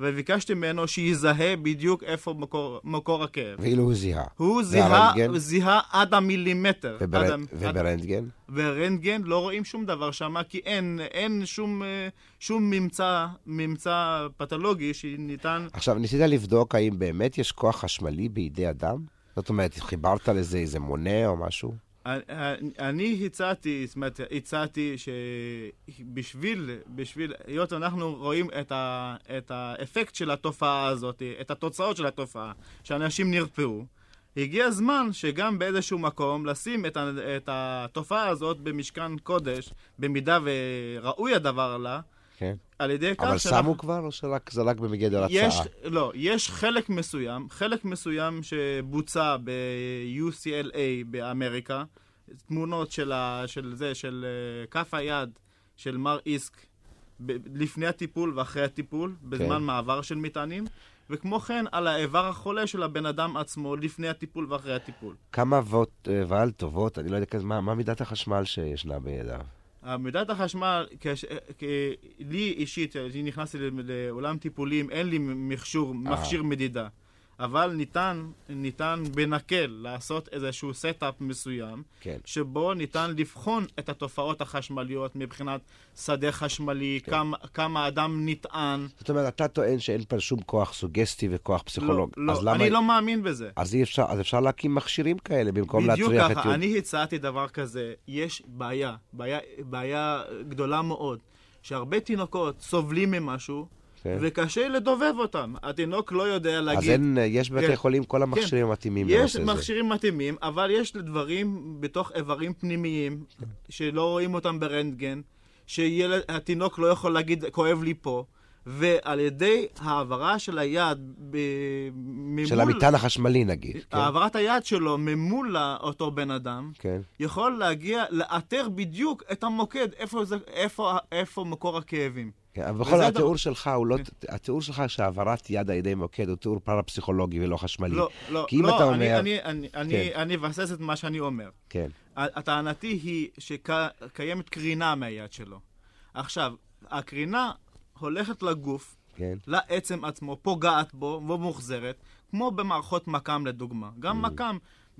וביקשתי ממנו שיזהה בדיוק איפה מקור, מקור הכאב. ואילו הוא זיהה. הוא זיהה, והרנטגן? זיהה עד המילימטר. ובר... עד, ה- עד, וברנטגן? ברנטגן לא רואים שום דבר שם, כי אין, אין שום, אה, שום ממצא, ממצא פתולוגי שניתן... עכשיו, ניסית לבדוק האם באמת יש כוח חשמלי בידי אדם? זאת אומרת, חיברת לזה איזה מונה או משהו? אני- אני הצעתי, זאת אומרת, הצעתי שבשביל, בשביל, היות אנחנו רואים את, ה, את האפקט של התופעה הזאת, את התוצאות של התופעה, שאנשים נרפאו, הגיע הזמן שגם באיזשהו מקום לשים את, ה, את התופעה הזאת במשכן קודש, במידה וראוי הדבר לה, כן. על ידי כך אבל שאנחנו- שמו כבר, או שרק זה רק במגדר יש, הצעה? לא, יש חלק מסוים, חלק מסוים שבוצע ב-UCLA באמריקה, תמונות של, ה, של זה, של אה, כף היד של מר איסק ב- לפני הטיפול ואחרי הטיפול, בזמן כן. מעבר של מטענים, וכמו כן על האיבר החולה של הבן אדם עצמו לפני הטיפול ואחרי הטיפול. כמה וולט, אה, ואל טובות, אני לא יודע כזה, מה, מה מידת החשמל שישנה בידיו? מידת החשמל, כש... כ... לי אישית, אני נכנסתי ל- לאולם טיפולים, אין לי אה. מכשור, מכשיר מדידה. אבל ניתן, ניתן בנקל לעשות איזשהו סטאפ מסוים, כן. שבו ניתן לבחון את התופעות החשמליות מבחינת שדה חשמלי, כן. כמה, כמה אדם נטען. זאת אומרת, אתה טוען שאין פה שום כוח סוגסטי וכוח פסיכולוג. לא, אז לא, למה... אני לא מאמין בזה. אז אי אפשר, אז אפשר להקים מכשירים כאלה במקום בדיוק להטריח את... ככה, יהוד- אני הצעתי דבר כזה, יש בעיה, בעיה, בעיה גדולה מאוד, שהרבה תינוקות סובלים ממשהו, כן. וקשה לדובב אותם. התינוק לא יודע להגיד... אז אין, אה, יש בבתי כן. חולים כל המכשירים המתאימים יש לנושא זה. מכשירים מתאימים, אבל יש דברים בתוך איברים פנימיים, שלא רואים אותם ברנטגן, שהתינוק לא יכול להגיד, כואב לי פה. ועל ידי העברה של היד ב- ממול... של המטען החשמלי נגיד. כן, העברת היד שלו ממול לאותו בן אדם, כן. יכול להגיע, לאתר בדיוק את המוקד, איפה, זה, איפה, איפה מקור הכאבים. כן, אבל וזה בכל הדבר- כן. זאת, התיאור שלך הוא לא... התיאור שלך שהעברת יד על ידי מוקד הוא תיאור פרפסיכולוגי ולא חשמלי. לא, לא, כי אם לא, אתה אני- אומר... אני, אני, אני, אני מבסס את מה שאני אומר. כן. הטענתי היא שקיימת קרינה מהיד שלו. עכשיו, הקרינה הולכת לגוף, כן. לעצם עצמו, פוגעת בו ומוחזרת, כמו במערכות מכ"ם לדוגמה. Mm. גם מכ"ם,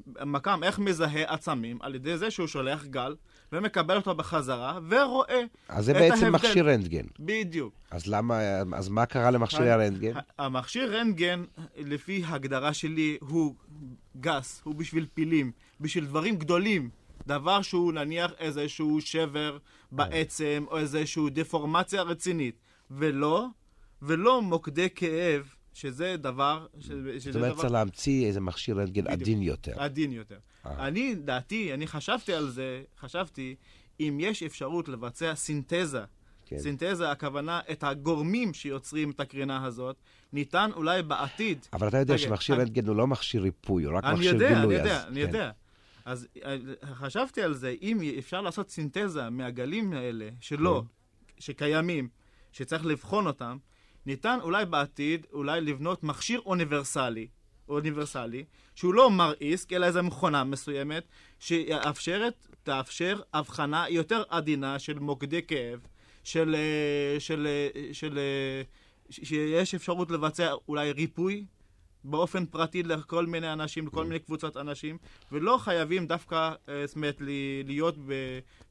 מכ"ם, איך מזהה עצמים? על ידי זה שהוא שולח גל ומקבל אותו בחזרה ורואה אז זה את בעצם ההבדל. מכשיר רנטגן. בדיוק. אז למה... אז מה קרה למכשירי ה- הרנטגן? המכשיר רנטגן, לפי ההגדרה שלי, הוא גס, הוא בשביל פילים, בשביל דברים גדולים. דבר שהוא נניח איזשהו שבר בעצם, או איזשהו דפורמציה רצינית. ולא, ולא מוקדי כאב, שזה דבר... ש- זאת שזה אומרת, דבר אה, צריך להמציא איזה מכשיר רנטגן עדין יותר. עדין יותר. אה. אני, דעתי, אני חשבתי על זה, חשבתי, אם יש אפשרות לבצע סינתזה, כן. סינתזה, הכוונה, את הגורמים שיוצרים את הקרינה הזאת, ניתן אולי בעתיד. אבל אתה יודע רגע, שמכשיר אני- רנטגן הוא לא מכשיר ריפוי, הוא רק אה, אני מכשיר יודע, גילוי. אני אז- יודע, אני כן. יודע. אז אה, חשבתי על זה, אם אפשר לעשות כן. סינתזה מהגלים האלה, שלא, שקיימים, שצריך לבחון אותם, ניתן אולי בעתיד, אולי לבנות מכשיר אוניברסלי, אוניברסלי, שהוא לא מרעיסק, אלא איזו מכונה מסוימת, שיאפשרת, תאפשר הבחנה יותר עדינה של מוקדי כאב, של... אה, של, אה, של אה, ש- שיש אפשרות לבצע אולי ריפוי באופן פרטי לכל מיני אנשים, Mm. לכל מיני קבוצות אנשים, ולא חייבים דווקא, אה, זאת אומרת, ל- להיות ב,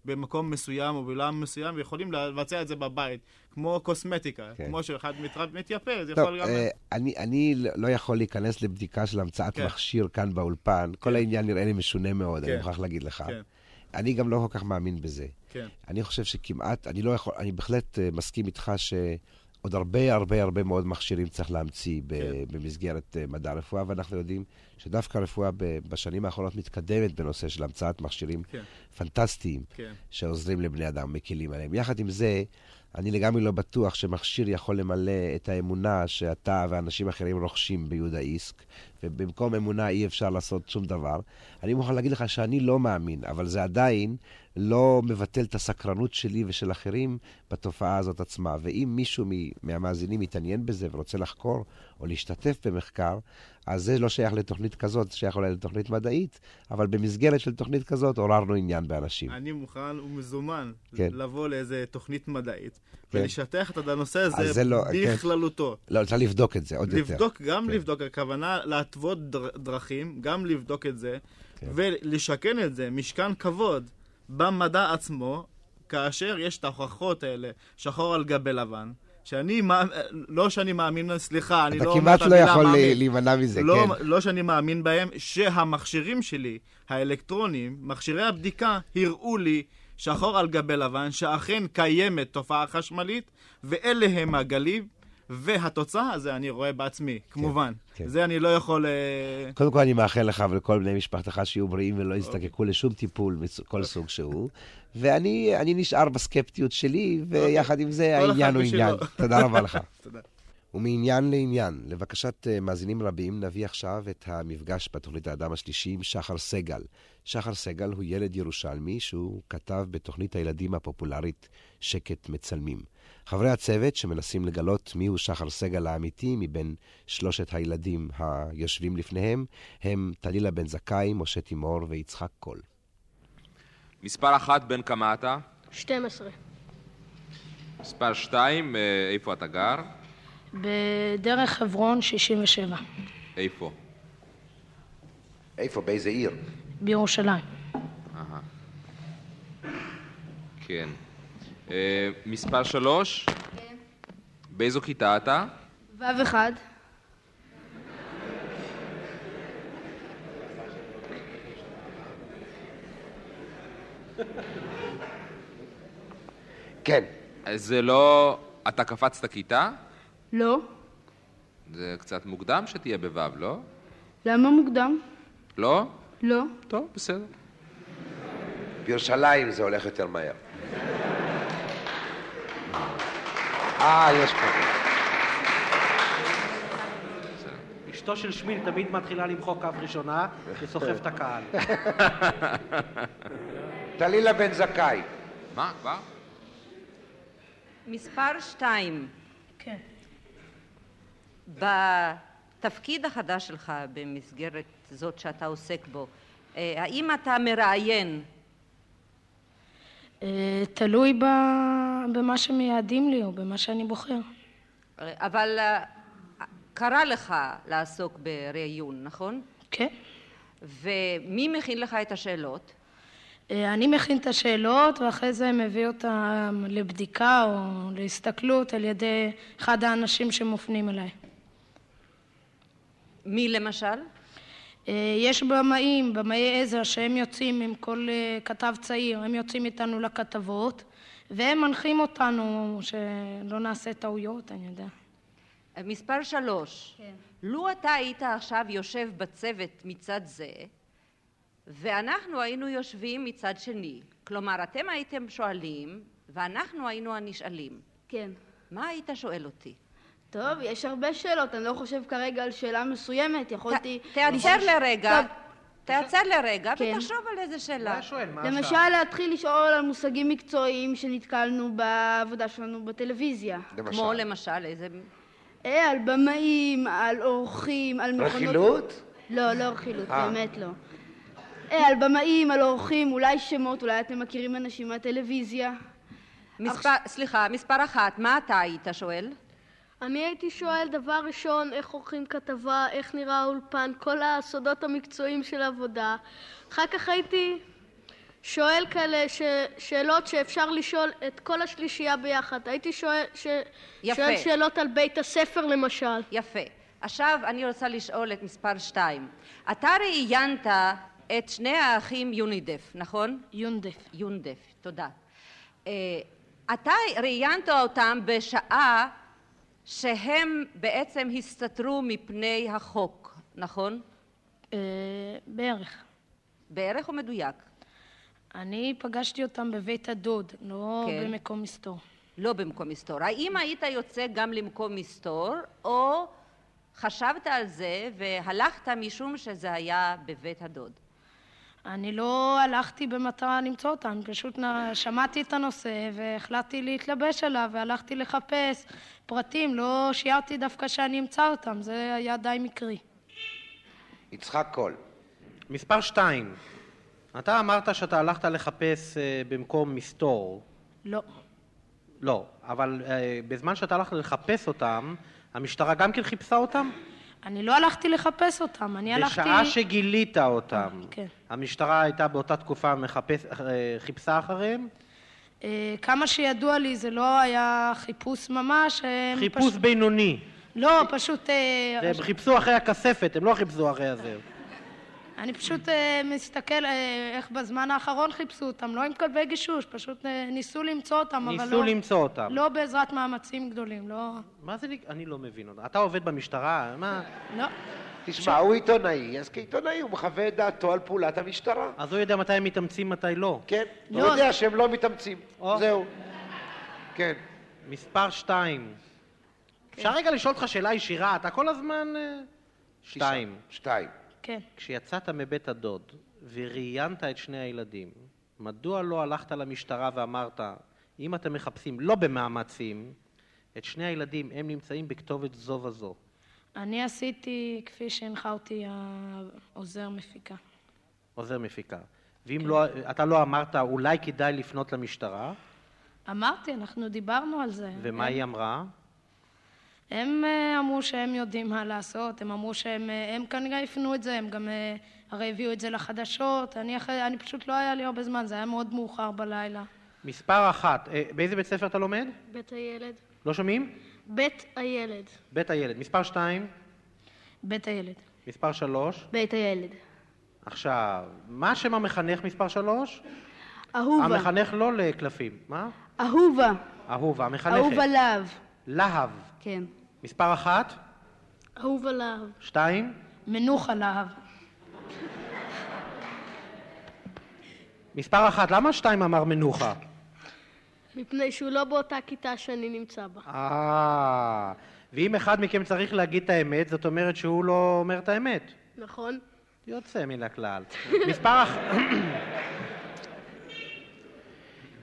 במקום מסוים או באולם מסוים, ויכולים לבצע את זה בבית, כמו קוסמטיקה, כן. כן. כמו שאחד מתרפ- מתייפה, זה טוב, יכול גם... אה, אני, אני לא- לא יכול להיכנס לבדיקה של המצאת כן. מכשיר כאן באולפן. כל העניין נראה לי משונה מאוד, אני כן. מוכרח להגיד לך. כן. אני גם לא כל כך מאמין בזה. כן. אני חושב שכמעט, אני לא יכול, אני בהחלט אה, מסכים איתך שעוד הרבה הרבה הרבה מאוד מכשירים צריך להמציא ב- כן. במסגרת אה, מדע הרפואה, ואנחנו יודעים שדווקא הרפואה ב- בשנים האחרונות מתקדמת בנושא של המצאת מכשירים כן. פנטסטיים, כן. שעוזרים לבני אדם, מקלים עליהם. יחד עם זה, אני לגמרי לא בטוח שמכשיר יכול למלא את האמונה שאתה ואנשים אחרים רוכשים ביהודה איסק, ובמקום אמונה אי אפשר לעשות שום דבר. אני מוכרח להגיד לך שאני לא מאמין, אבל זה עדיין לא מבטל את הסקרנות שלי ושל אחרים בתופעה הזאת עצמה. ואם מישהו מ- מהמאזינים מתעניין בזה ורוצה לחקור או להשתתף במחקר, אז זה לא שייך לתוכנית כזאת, זה שייך אולי לתוכנית מדעית, אבל במסגרת של תוכנית כזאת עוררנו עניין באנשים. אני מוכן ומזומן כן. לבוא לאיזה תוכנית מדעית ולשטח את הנושא אז זה הזה לא- כן. בכללותו. לא, צריך לבדוק את זה עוד יותר. לבדוק, גם כן. לבדוק, הכוונה להתוות דר- דרכים, גם לבדוק את זה, כן. ולשכן את זה, משכן כבוד, במדע עצמו, כאשר יש את ההוכחות האלה, שחור על גבי לבן, שאני, מאמ- לא שאני מאמין, סליחה, אני אתה לא אומר את המילה כמעט מאמין. לא יכול לה- להימנע מזה, לא, כן. לא שאני מאמין בהם, שהמכשירים שלי, האלקטרונים, מכשירי הבדיקה, הראו לי שחור על גבי לבן, שאכן קיימת תופעה חשמלית, ואלה הם הגלים, והתוצאה זה אני רואה בעצמי, כמובן. כן. זה אני לא יכול... אה, קודם כל אני מאחל לך ולכל בני משפחתך שיהיו בריאים ולא יזדקקו לשום טיפול מכל סוג שהוא. ואני אני נשאר בסקפטיות שלי, ויחד עם זה אוקיי. כל אחד העניין הוא בשלו. עניין. תודה רבה לך. תודה. ומעניין לעניין, לבקשת אה, מאזינים רבים, נביא עכשיו את המפגש בתוכנית האדם השלישי עם שחר סגל. שחר סגל הוא ילד ירושלמי שהוא כתב בתוכנית הילדים הפופולרית שקט מצלמים. חברי הצוות שמנסים לגלות מיהו שחר סגל האמיתי מבין שלושת הילדים היושבים לפניהם הם טלילה בן זכאי, משה תימור ויצחק קול. מספר אחת, בן כמה אתה? 12. מספר שתיים, אה, איפה אתה גר? בדרך חברון 67, איפה? איפה? באיזה עיר? בירושלים. אהה. כן. אה, מספר שלוש? באיזו כיתה אתה? ו' אחד. כן. זה לא... אתה קפצת כיתה? לא. זה קצת מוקדם שתהיה בו', לא? למה מוקדם? לא? לא. טוב, בסדר. בירושלים זה הולך יותר מהר. אה, יש פה. אשתו של שמיל תמיד מתחילה למחוא קו ראשונה וסוחב את הקהל. טלילה בן זכאי. מה, כבר? מספר שתיים. כן. בתפקיד החדש שלך, במסגרת זאת שאתה עוסק בו, אה, האם אתה מראיין? אה, תלוי ב... במה שמייעדים לי או במה שאני בוחר. אה, אבל אה, קרה לך לעסוק בראיון, נכון? כן. ומי מכין לך את השאלות? אה, אני מכין את השאלות ואחרי זה מביא אותן לבדיקה או להסתכלות על ידי אחד האנשים שמופנים אליי. מי למשל? אה, יש במאים, במאי עזר, שהם יוצאים עם כל אה, כתב צעיר, הם יוצאים איתנו לכתבות והם מנחים אותנו שלא נעשה טעויות, אני יודע. אה, מספר שלוש. כן. לו אתה היית עכשיו יושב בצוות מצד זה, ואנחנו היינו יושבים מצד שני. כלומר, אתם הייתם שואלים, ואנחנו היינו הנשאלים. כן. מה היית שואל אותי? טוב, יש הרבה שאלות, אני לא חושב כרגע על שאלה מסוימת, יכולתי... תיעצר לשאול- לרגע, טוב, תיעצר לרגע כן. ותחשוב על איזה שאלה. מה שואל? למשל, להתחיל לשאול על מושגים מקצועיים שנתקלנו בעבודה שלנו בטלוויזיה. כמו למשל איזה... אה, על במאים, על אורחים, על מכונות... רכילות? לא, לא רכילות, אה. באמת לא. אה, על במאים, על אורחים, אולי שמות, אולי אתם מכירים אנשים מהטלוויזיה. מספר, סליחה, מספר אחת, מה אתה היית שואל? אני הייתי שואל דבר ראשון, איך עורכים כתבה, איך נראה האולפן, כל הסודות המקצועיים של עבודה. אחר כך הייתי שואל כאלה ש... שאלות שאפשר לשאול את כל השלישייה ביחד. הייתי שואל, ש... יפה. שואל שאלות על בית הספר למשל. יפה. עכשיו אני רוצה לשאול את מספר שתיים. אתה ראיינת את שני האחים יונידף, נכון? יונדף. יונדף, תודה. אה, אתה ראיינת אותם בשעה שהם בעצם הסתתרו מפני החוק, נכון? אה, בערך. בערך או מדויק? אני פגשתי אותם בבית הדוד, לא כן. במקום מסתור. לא במקום מסתור. האם היית יוצא גם למקום מסתור, או חשבת על זה והלכת משום שזה היה בבית הדוד? אני לא הלכתי במטרה למצוא אותם, פשוט נ- שמעתי את הנושא והחלטתי להתלבש עליו והלכתי לחפש פרטים, לא שיערתי דווקא שאני אמצא אותם, זה היה די מקרי. יצחק קול. מספר שתיים, אתה אמרת שאתה הלכת לחפש אה, במקום מסתור. לא. לא, אבל אה, בזמן שאתה הלכת לחפש אותם, המשטרה גם כן חיפשה אותם? אני לא הלכתי לחפש אותם, אני הלכתי... בשעה שגילית אותם, כן. המשטרה הייתה באותה תקופה מחפש, אה, חיפשה אחריהם? אה, כמה שידוע לי זה לא היה חיפוש ממש, הם חיפוש פשוט... בינוני. לא, פשוט... אה, הם חיפשו אחרי הכספת, הם לא חיפשו אחרי הזה. אני פשוט אה, מסתכל אה, איך בזמן האחרון חיפשו אותם, לא עם כלבי גישוש, פשוט אה, ניסו למצוא אותם, אבל ניסו לא... למצוא אותם. לא בעזרת מאמצים גדולים, לא... מה זה, נק- אני לא מבין אותה. אתה עובד במשטרה, מה? לא. תשמע, הוא עיתונאי, אז כן. כעיתונאי הוא מחווה את דעתו על פעולת המשטרה. אז הוא יודע מתי הם מתאמצים, מתי לא. כן, הוא לא. יודע שהם לא מתאמצים. זהו. כן. מספר שתיים. אפשר רגע לשאול אותך שאלה ישירה, אתה כל הזמן... אה, שתיים. שתיים. כן. כשיצאת מבית הדוד וראיינת את שני הילדים, מדוע לא הלכת למשטרה ואמרת, אם אתם מחפשים, לא במאמצים, את שני הילדים, הם נמצאים בכתובת זו וזו. אני עשיתי כפי שהנחה אותי העוזר מפיקה. עוזר מפיקה. ואם לא, אתה לא אמרת, אולי כדאי לפנות למשטרה, אמרתי, אנחנו דיברנו על זה. ומה הם- היא אמרה? הם אה, אמרו שהם יודעים מה לעשות, הם אמרו שהם אה, הם כנראה יפנו את זה, הם גם אה, הרי הביאו את זה לחדשות, אני, אחרי, אני פשוט לא היה לי הרבה זמן, זה היה מאוד מאוחר בלילה. מספר אחת, אה, באיזה בית ספר אתה לומד? בית הילד. לא שומעים? בית הילד. בית הילד. מספר שתיים, בית הילד. מספר שלוש. בית הילד. עכשיו, מה שם המחנך מספר שלוש? אהובה. המחנך לא לקלפים, מה? אהובה. אהובה, המחנכת. אהוב עליו. להב. כן. מספר אחת, אהוב עליו. שתיים, מנוך עליו. מספר אחת, למה שתיים אמר מנוחה? מפני שהוא לא באותה כיתה שאני נמצא בה. אה... ואם אחד מכם צריך להגיד את האמת, זאת אומרת שהוא לא אומר את האמת. נכון? יוצא מן הכלל. מספר אח...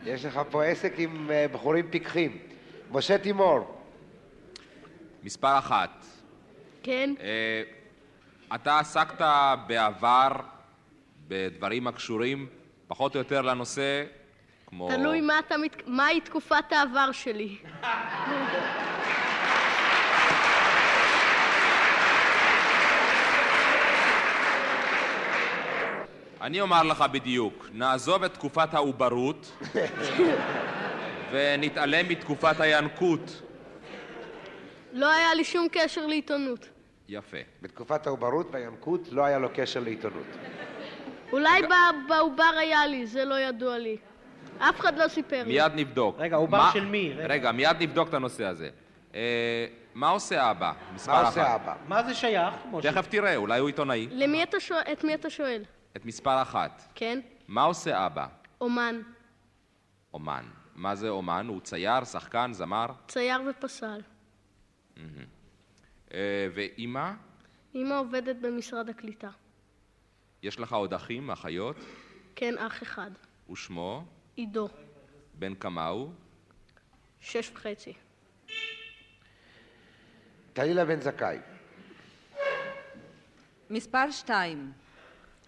יש לך פה עסק עם אה, בחורים פיקחים. משה תימור. מספר אחת. כן? אה, אתה עסקת בעבר בדברים הקשורים פחות או יותר לנושא, כמו... תלוי מה אתה מת... מהי תקופת העבר שלי. אני אומר לך בדיוק, נעזוב את תקופת העוברות ונתעלם מתקופת הינקות. לא היה לי שום קשר לעיתונות. יפה. בתקופת העוברות והינקות לא היה לו קשר לעיתונות. אולי ב- בעובר היה לי, זה לא ידוע לי. אף אחד לא סיפר לי. מיד נבדוק. רגע, הוא בר של מי? רגע. רגע, מיד נבדוק את הנושא הזה. אה, מה עושה האבא? מספר מה עושה אחת. האבא? מה זה שייך? משה? תכף תראה, אולי הוא עיתונאי. למי אתה שואל? את מי אתה שואל? את מספר אחת. כן? מה עושה אבא? אומן, אומן. מה זה אומן? הוא צייר, שחקן, זמר? צייר ופסל. מהמם. אה, ואימא? אמא עובדת במשרד הקליטה. יש לך עוד אחים, אחיות? כן, אח אחד. ושמו? עידו, בן כמה הוא? שש וחצי. טלילה בן זכאי. מספר שתיים,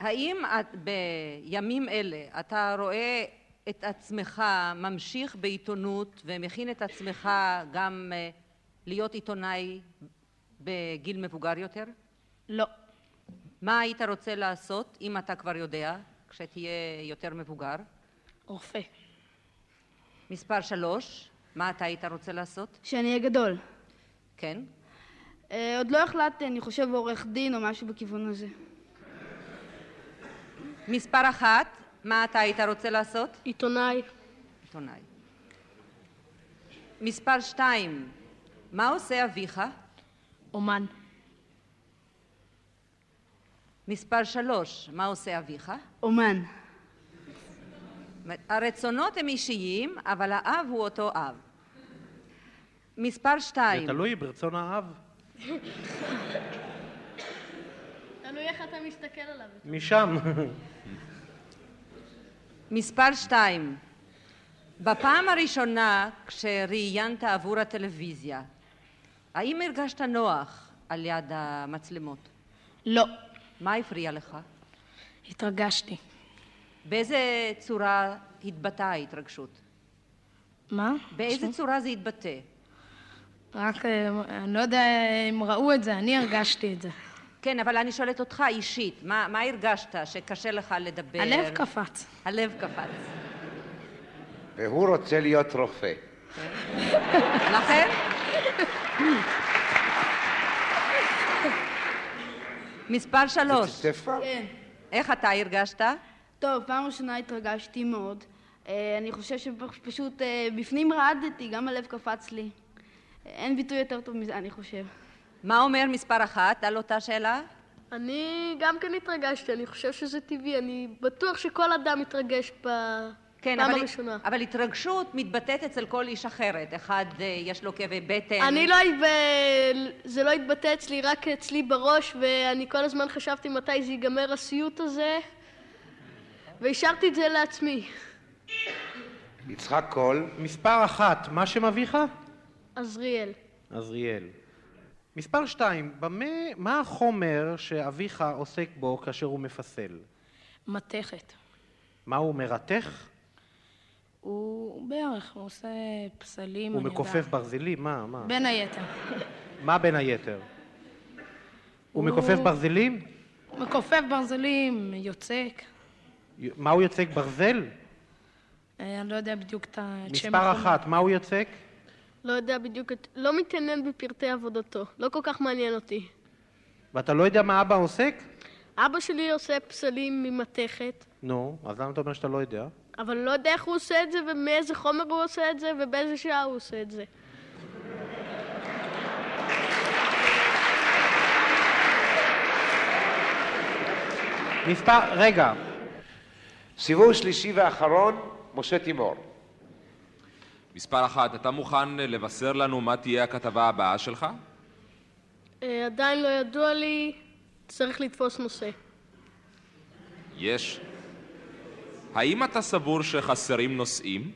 האם את, בימים אלה אתה רואה את עצמך ממשיך בעיתונות ומכין את עצמך גם אה, להיות עיתונאי בגיל מבוגר יותר? לא. מה היית רוצה לעשות, אם אתה כבר יודע, כשתהיה יותר מבוגר? רופא. מספר שלוש, מה אתה היית רוצה לעשות? שאני אהיה גדול. כן. אה, עוד לא החלטתי, אני חושב עורך דין או משהו בכיוון הזה. מספר אחת, מה אתה היית רוצה לעשות? עיתונאי. עיתונאי. מספר שתיים, מה עושה אביך? אומן. מספר שלוש, מה עושה אביך? אומן. הרצונות הם אישיים, אבל האב הוא אותו אב. מספר שתיים, זה תלוי ברצון האב. תלוי איך אתה מסתכל עליו. משם. מספר שתיים, בפעם הראשונה כשראיינת עבור הטלוויזיה, האם הרגשת נוח על יד המצלמות? לא. מה הפריע לך? התרגשתי. באיזה צורה התבטאה ההתרגשות? מה? באיזה צורה זה התבטא? רק, אה, אני לא יודע אם ראו את זה, אני הרגשתי את זה. כן, אבל אני שואלת אותך אישית, מה, מה הרגשת שקשה לך לדבר? הלב קפץ. הלב קפץ. והוא רוצה להיות רופא. לכן? מספר שלוש. זה צפצפה? כן. איך אתה הרגשת? טוב, פעם ראשונה התרגשתי מאוד. אה, אני חושב שפשוט אה, בפנים רעדתי, גם הלב קפץ לי. אין ביטוי יותר טוב מזה, אני חושב. מה אומר מספר אחת על אותה שאלה? אני גם כן התרגשתי, אני חושב שזה טבעי, אני בטוח שכל אדם מתרגש בפעם כן, אבל, הראשונה. אבל התרגשות מתבטאת אצל כל איש אחרת. אחד אה, יש לו כאבי בטן. כן. אני לא... התב- זה לא התבטא אצלי, רק אצלי בראש, ואני כל הזמן חשבתי מתי זה ייגמר הסיוט הזה, והשארתי את זה לעצמי. יצחק קול. מספר אחת, מה שם אביך? עזריאל. עזריאל. מספר שתיים, במה, מה החומר שאביך עוסק בו כאשר הוא מפסל? מתכת. מה הוא מרתך? הוא בערך, הוא עושה פסלים, הוא אני מכופף יודעת. ברזלים? מה, מה? בין היתר. מה בין היתר? הוא הוא- מכופף ברזלים? מכופף ברזלים, יוצק. מה הוא יוצק ברזל? אה, אני לא יודע בדיוק את ה- את שם מספר החומר. אחת, מה הוא יוצק? לא יודע בדיוק, את- לא מתעניין בפרטי עבודתו, לא כל כך מעניין אותי. ואתה לא יודע מה אבא עוסק? אבא שלי עושה פסלים ממתכת, נו, אז למה אתה אומר שאתה לא יודע? אבל לא יודע איך הוא עושה את זה, ומאיזה חומר הוא עושה את זה, ובאיזה שעה הוא עושה את זה. מספר, רגע. סיבוב שלישי ואחרון, משה תימור. מספר אחת, אתה מוכן לבשר לנו מה תהיה הכתבה הבאה שלך? אה, עדיין לא ידוע לי, צריך לתפוס נושא. יש. האם אתה סבור שחסרים נושאים?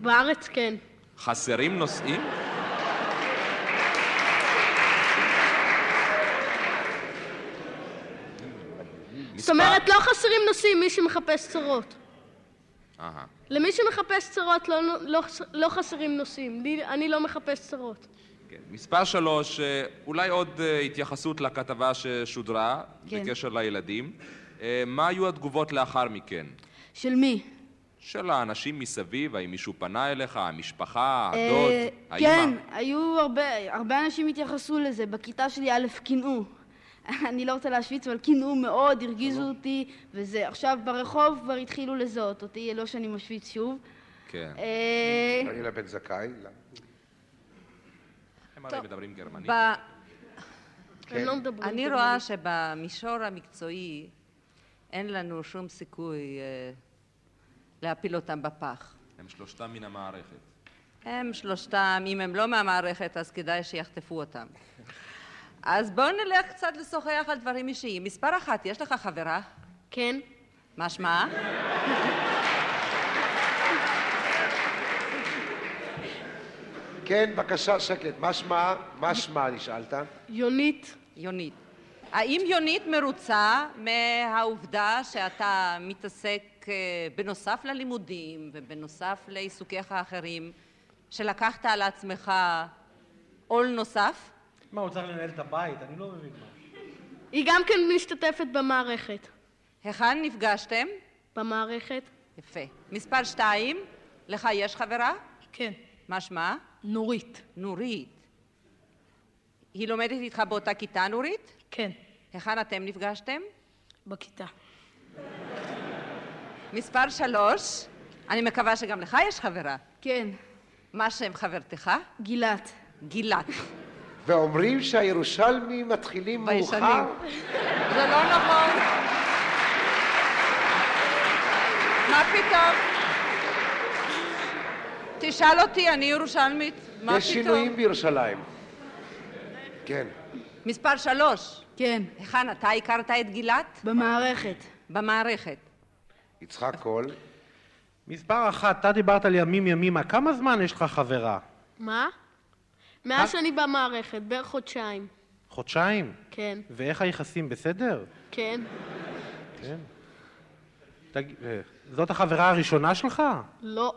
בארץ כן. חסרים נושאים? זאת אומרת, לא חסרים נושאים, מי שמחפש צרות. אהה. למי שמחפש צרות לא, לא, לא חסרים נושאים. לי, אני לא מחפש צרות. כן. מספר שלוש, אה, אולי עוד אה, התייחסות לכתבה ששודרה כן. בקשר לילדים. אה, מה היו התגובות לאחר מכן? של מי? של האנשים מסביב, האם מישהו פנה אליך, המשפחה, הדוד, אה, האמא? כן, היו הרבה, הרבה אנשים התייחסו לזה. בכיתה שלי א' קינאו. אני לא רוצה להשוויץ, אבל קינאו מאוד, הרגיזו אותי, וזה. עכשיו ברחוב כבר התחילו לזהות אותי, לא שאני משוויץ שוב. כן. אה, טלילה בן זכאי. הם הרי מדברים גרמנית. ב- כן. הם לא מדברים אני גרמנית. רואה שבמישור המקצועי אין לנו שום סיכוי אה, להפיל אותם בפח. הם שלושתם מן המערכת. הם שלושתם, אם הם לא מהמערכת, אז כדאי שיחטפו אותם. אז בואו נלך קצת לשוחח על דברים אישיים. מספר אחת, יש לך חברה? כן. מה שמה? כן, בבקשה, שקט. מה שמה? מה שמה נשאלת? יונית. יונית. האם יונית מרוצה מהעובדה שאתה מתעסק אה, בנוסף ללימודים ובנוסף לעיסוקיך האחרים, שלקחת על עצמך עול נוסף? מה, הוא צריך לנהל את הבית? אני לא מבין מה. היא גם כן משתתפת במערכת. היכן נפגשתם? במערכת. יפה. מספר שתיים, לך יש חברה? כן. מה שמה? נורית. נורית. היא לומדת איתך באותה כיתה, נורית? כן. היכן אתם נפגשתם? בכיתה. מספר שלוש, אני מקווה שגם לך יש חברה. כן. מה שם חברתך? גילת. גילת. ואומרים שהירושלמים מתחילים מאוחר? זה לא נכון. מה פתאום? תשאל אותי, אני ירושלמית. מה פתאום? יש שינויים בירושלים. כן. מספר שלוש. כן. היכן אתה הכרת את גילת? במערכת. במערכת. יצחק קול. מספר אחת, אתה דיברת על ימים ימימה, כמה זמן יש לך חברה? מה? מאז שאני במערכת, בערך חודשיים. חודשיים? כן, ואיך היחסים, בסדר? כן. כן. תג... אה, זאת החברה הראשונה שלך? לא.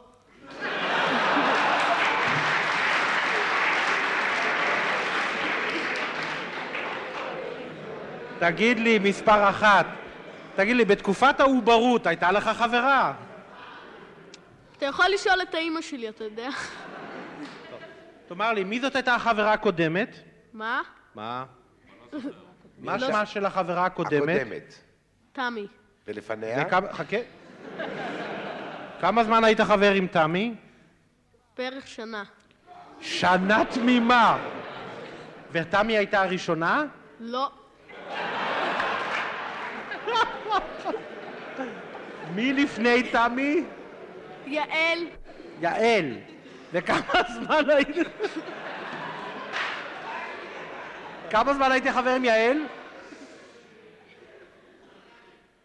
תגיד לי, מספר אחת, תגיד לי, בתקופת העוברות הייתה לך חברה? אתה יכול לשאול את האימא שלי, אתה יודע. תאמר לי, מי זאת הייתה החברה הקודמת? מה? מה? מה לא- שמה של החברה הקודמת? הקודמת. תמי. ולפניה? וכמה- חכה. כמה זמן היית חבר עם תמי? בערך שנה. שנה תמימה. ותמי הייתה הראשונה? לא. מי לפני תמי? יעל, יעל. וכמה זמן היית... כמה זמן היית חבר עם יעל?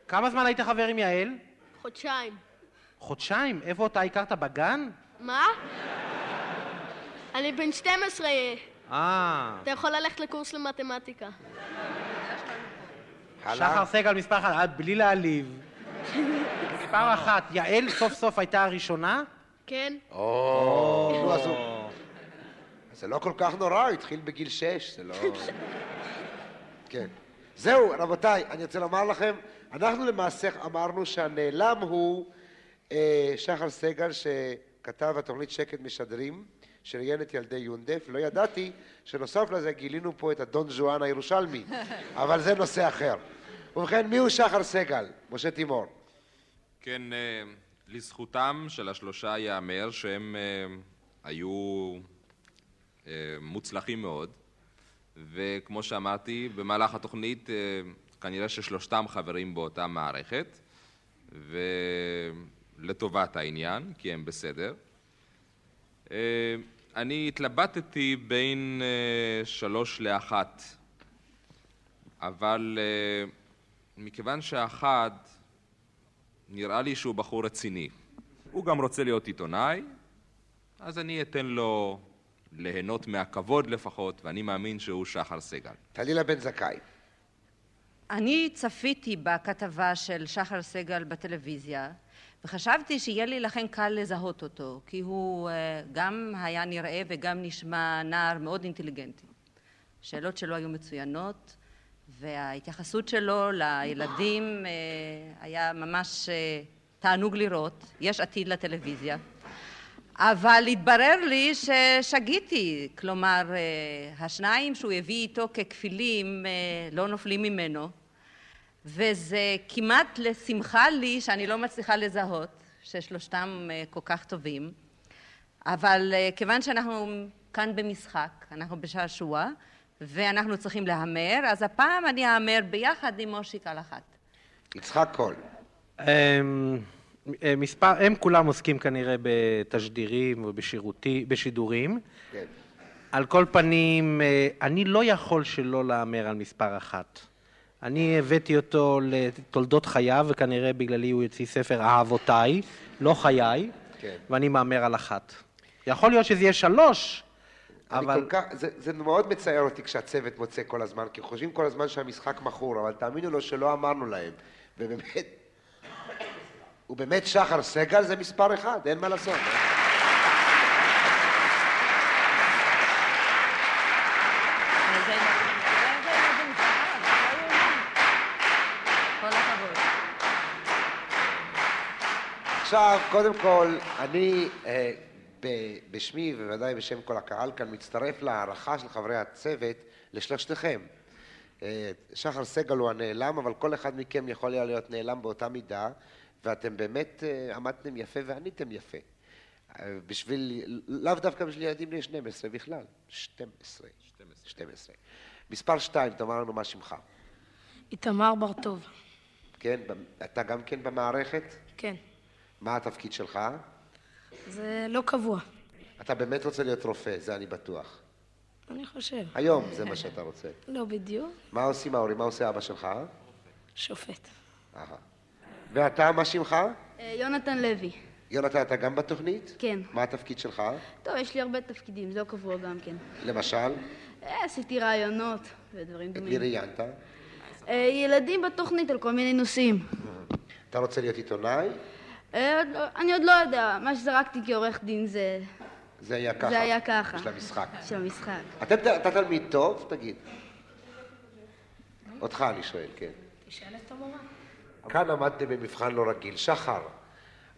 כמה זמן היית חבר עם יעל? חודשיים. חודשיים. איפה אותה הכרת? בגן? מה? אני בן 12, אה. אתה יכול ללכת לקורס למתמטיקה. שחר סגל מספר אחת, אה, בלי להעליב. מספר אחת, יעל סוף סוף הייתה הראשונה? כן? או, נו, אז הוא- זה לא כל כך נורא, הוא התחיל בגיל שש, זה לא... כן. זהו, רבותיי, אני רוצה לומר לכם, אנחנו למעשה אמרנו שהנעלם הוא אה, שחר סגל, שכתב התוכנית שקט משדרים, שראיין את ילדי יונדף. לא ידעתי שנוסף לזה גילינו פה את הדון ז'ואן הירושלמי, אה, אבל זה נושא אחר. ובכן, מיהו שחר סגל? משה תימור. כן, אה, לזכותם של השלושה ייאמר שהם אה, היו אה, מוצלחים מאוד, וכמו שאמרתי, במהלך התוכנית אה, כנראה ששלושתם חברים באותה מערכת, ולטובת העניין, כי הם בסדר. אה, אני התלבטתי בין אה, שלוש לאחת, אבל אה, מכיוון שאחת נראה לי שהוא בחור רציני. הוא גם רוצה להיות עיתונאי, אז אני אתן לו ליהנות מהכבוד לפחות, ואני מאמין שהוא שחר סגל. טלילה בן זכאי. אני צפיתי בכתבה של שחר סגל בטלוויזיה, וחשבתי שיהיה לי לכן קל לזהות אותו, כי הוא אה, גם היה נראה וגם נשמע נער מאוד אינטליגנטי. השאלות שלו היו מצוינות, וההתייחסות שלו לילדים אה, היה ממש אה, תענוג לראות, יש עתיד לטלוויזיה. אבל התברר לי ששגיתי, כלומר, אה, השניים שהוא הביא איתו ככפילים אה, לא נופלים ממנו, וזה כמעט לשמחה לי שאני לא מצליחה לזהות ששלושתם אה, כל כך טובים, אבל אה, כיוון שאנחנו כאן במשחק, אנחנו בשעשוע, ואנחנו צריכים להמר, אז הפעם אני אהמר ביחד עם מושיק על אחת. יצחק קול. אמ, אה, מספר, הם כולם עוסקים כנראה בתשדירים ובשידורים. כן. על כל פנים, אה, אני לא יכול שלא להמר על מספר אחת. אני הבאתי אותו לתולדות חייו, וכנראה בגללי הוא יוציא ספר אהבותיי, לא חיי, כן. ואני מהמר על אחת. יכול להיות שזה יהיה שלוש, אבל... כל כך, זה, זה מאוד מצער אותי כשהצוות מוצא כל הזמן, כי חושבים כל הזמן שהמשחק מכור, אבל תאמינו לו שלא אמרנו להם. ובאמת, ובאמת שחר סגל זה מספר אחד, אין מה לעשות. אה? עכשיו, קודם כל, אני אה, ב- בשמי, ובוודאי בשם כל הקהל כאן, מצטרף להערכה של חברי הצוות לשלושתכם. אה, שחר סגל הוא הנעלם, אבל כל אחד מכם יכול היה להיות נעלם באותה מידה, ואתם באמת אה, עמדתם יפה ועניתם יפה. אה, בשביל, לאו דווקא בשביל ילדים בני 12 בכלל, 12. 12. 12. מספר 2, תאמר לנו מה שמך. איתמר בר-טוב, כן, ב- אתה גם כן במערכת? כן. מה התפקיד שלך? זה לא קבוע, אתה באמת רוצה להיות רופא, זה אני בטוח. אני חושב. היום זה מה שאתה רוצה. לא בדיוק, מה עושים ההורים? מה עושה אבא שלך? אה? שופט. אהה. ואתה, מה שמך? אה, יונתן לוי, יונתן, אתה גם בתוכנית? כן. מה התפקיד שלך? טוב, יש לי הרבה תפקידים, זה לא קבוע גם כן. למשל, אה, עשיתי רעיונות ודברים את דומים. מי ראיינת? אה, ילדים בתוכנית על כל מיני נושאים. אתה רוצה להיות עיתונאי? אה, עוד לא- אני עוד לא יודע, מה שזרקתי כעורך דין זה... זה היה ככה. זה היה ככה. של המשחק. של המשחק. אתם ת- אתה תלמיד טוב? תגיד. אותך אני שואל, כן. תשאל את המורה. כאן עמדתם במבחן לא רגיל. שחר,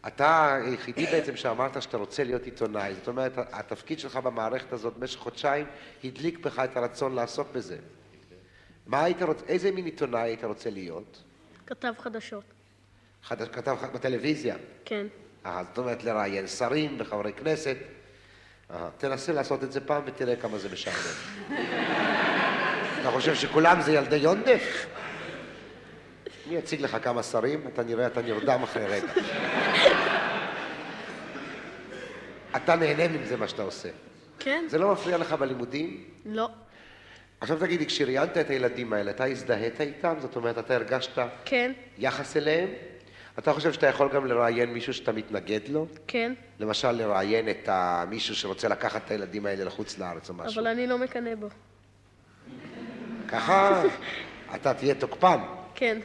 אתה היחידי בעצם שאמרת שאתה רוצה להיות עיתונאי. זאת אומרת, התפקיד שלך במערכת הזאת במשך חודשיים הדליק בך את הרצון לעסוק בזה. מה היית רוצ... איזה מין עיתונאי היית רוצה להיות? כתב חדשות. חדש, כתב ח- בטלוויזיה. כן. אה, זאת אומרת, לראיין שרים וחברי כנסת. אה, תנסה לעשות את זה פעם ותראה כמה זה משעמם. אתה חושב שכולם זה ילדי יונדף? אני אציג לך כמה שרים, אתה נראה, אתה נרדם אחרי רגע. אתה נהנה מזה מה שאתה עושה. כן? זה לא מפריע לך בלימודים? לא. עכשיו תגידי, כשראיינת את הילדים האלה, אתה הזדהית איתם? זאת אומרת, אתה הרגשת כן. יחס אליהם? אתה חושב שאתה יכול גם לראיין מישהו שאתה מתנגד לו? כן. למשל לראיין את ה- מישהו שרוצה לקחת את הילדים האלה לחוץ לארץ או משהו. אבל אני לא מקנא בו. ככה אתה תהיה תוקפן. כן.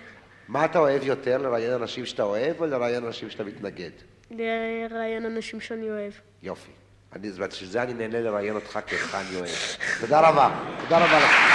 מה אתה אוהב יותר, לראיין אנשים שאתה אוהב או לראיין אנשים שאתה מתנגד? לראיין אנשים שאני אוהב. יופי. אני, בשביל זה אני נהנה לראיין אותך כי אותך אני אוהב. תודה רבה. תודה רבה לך.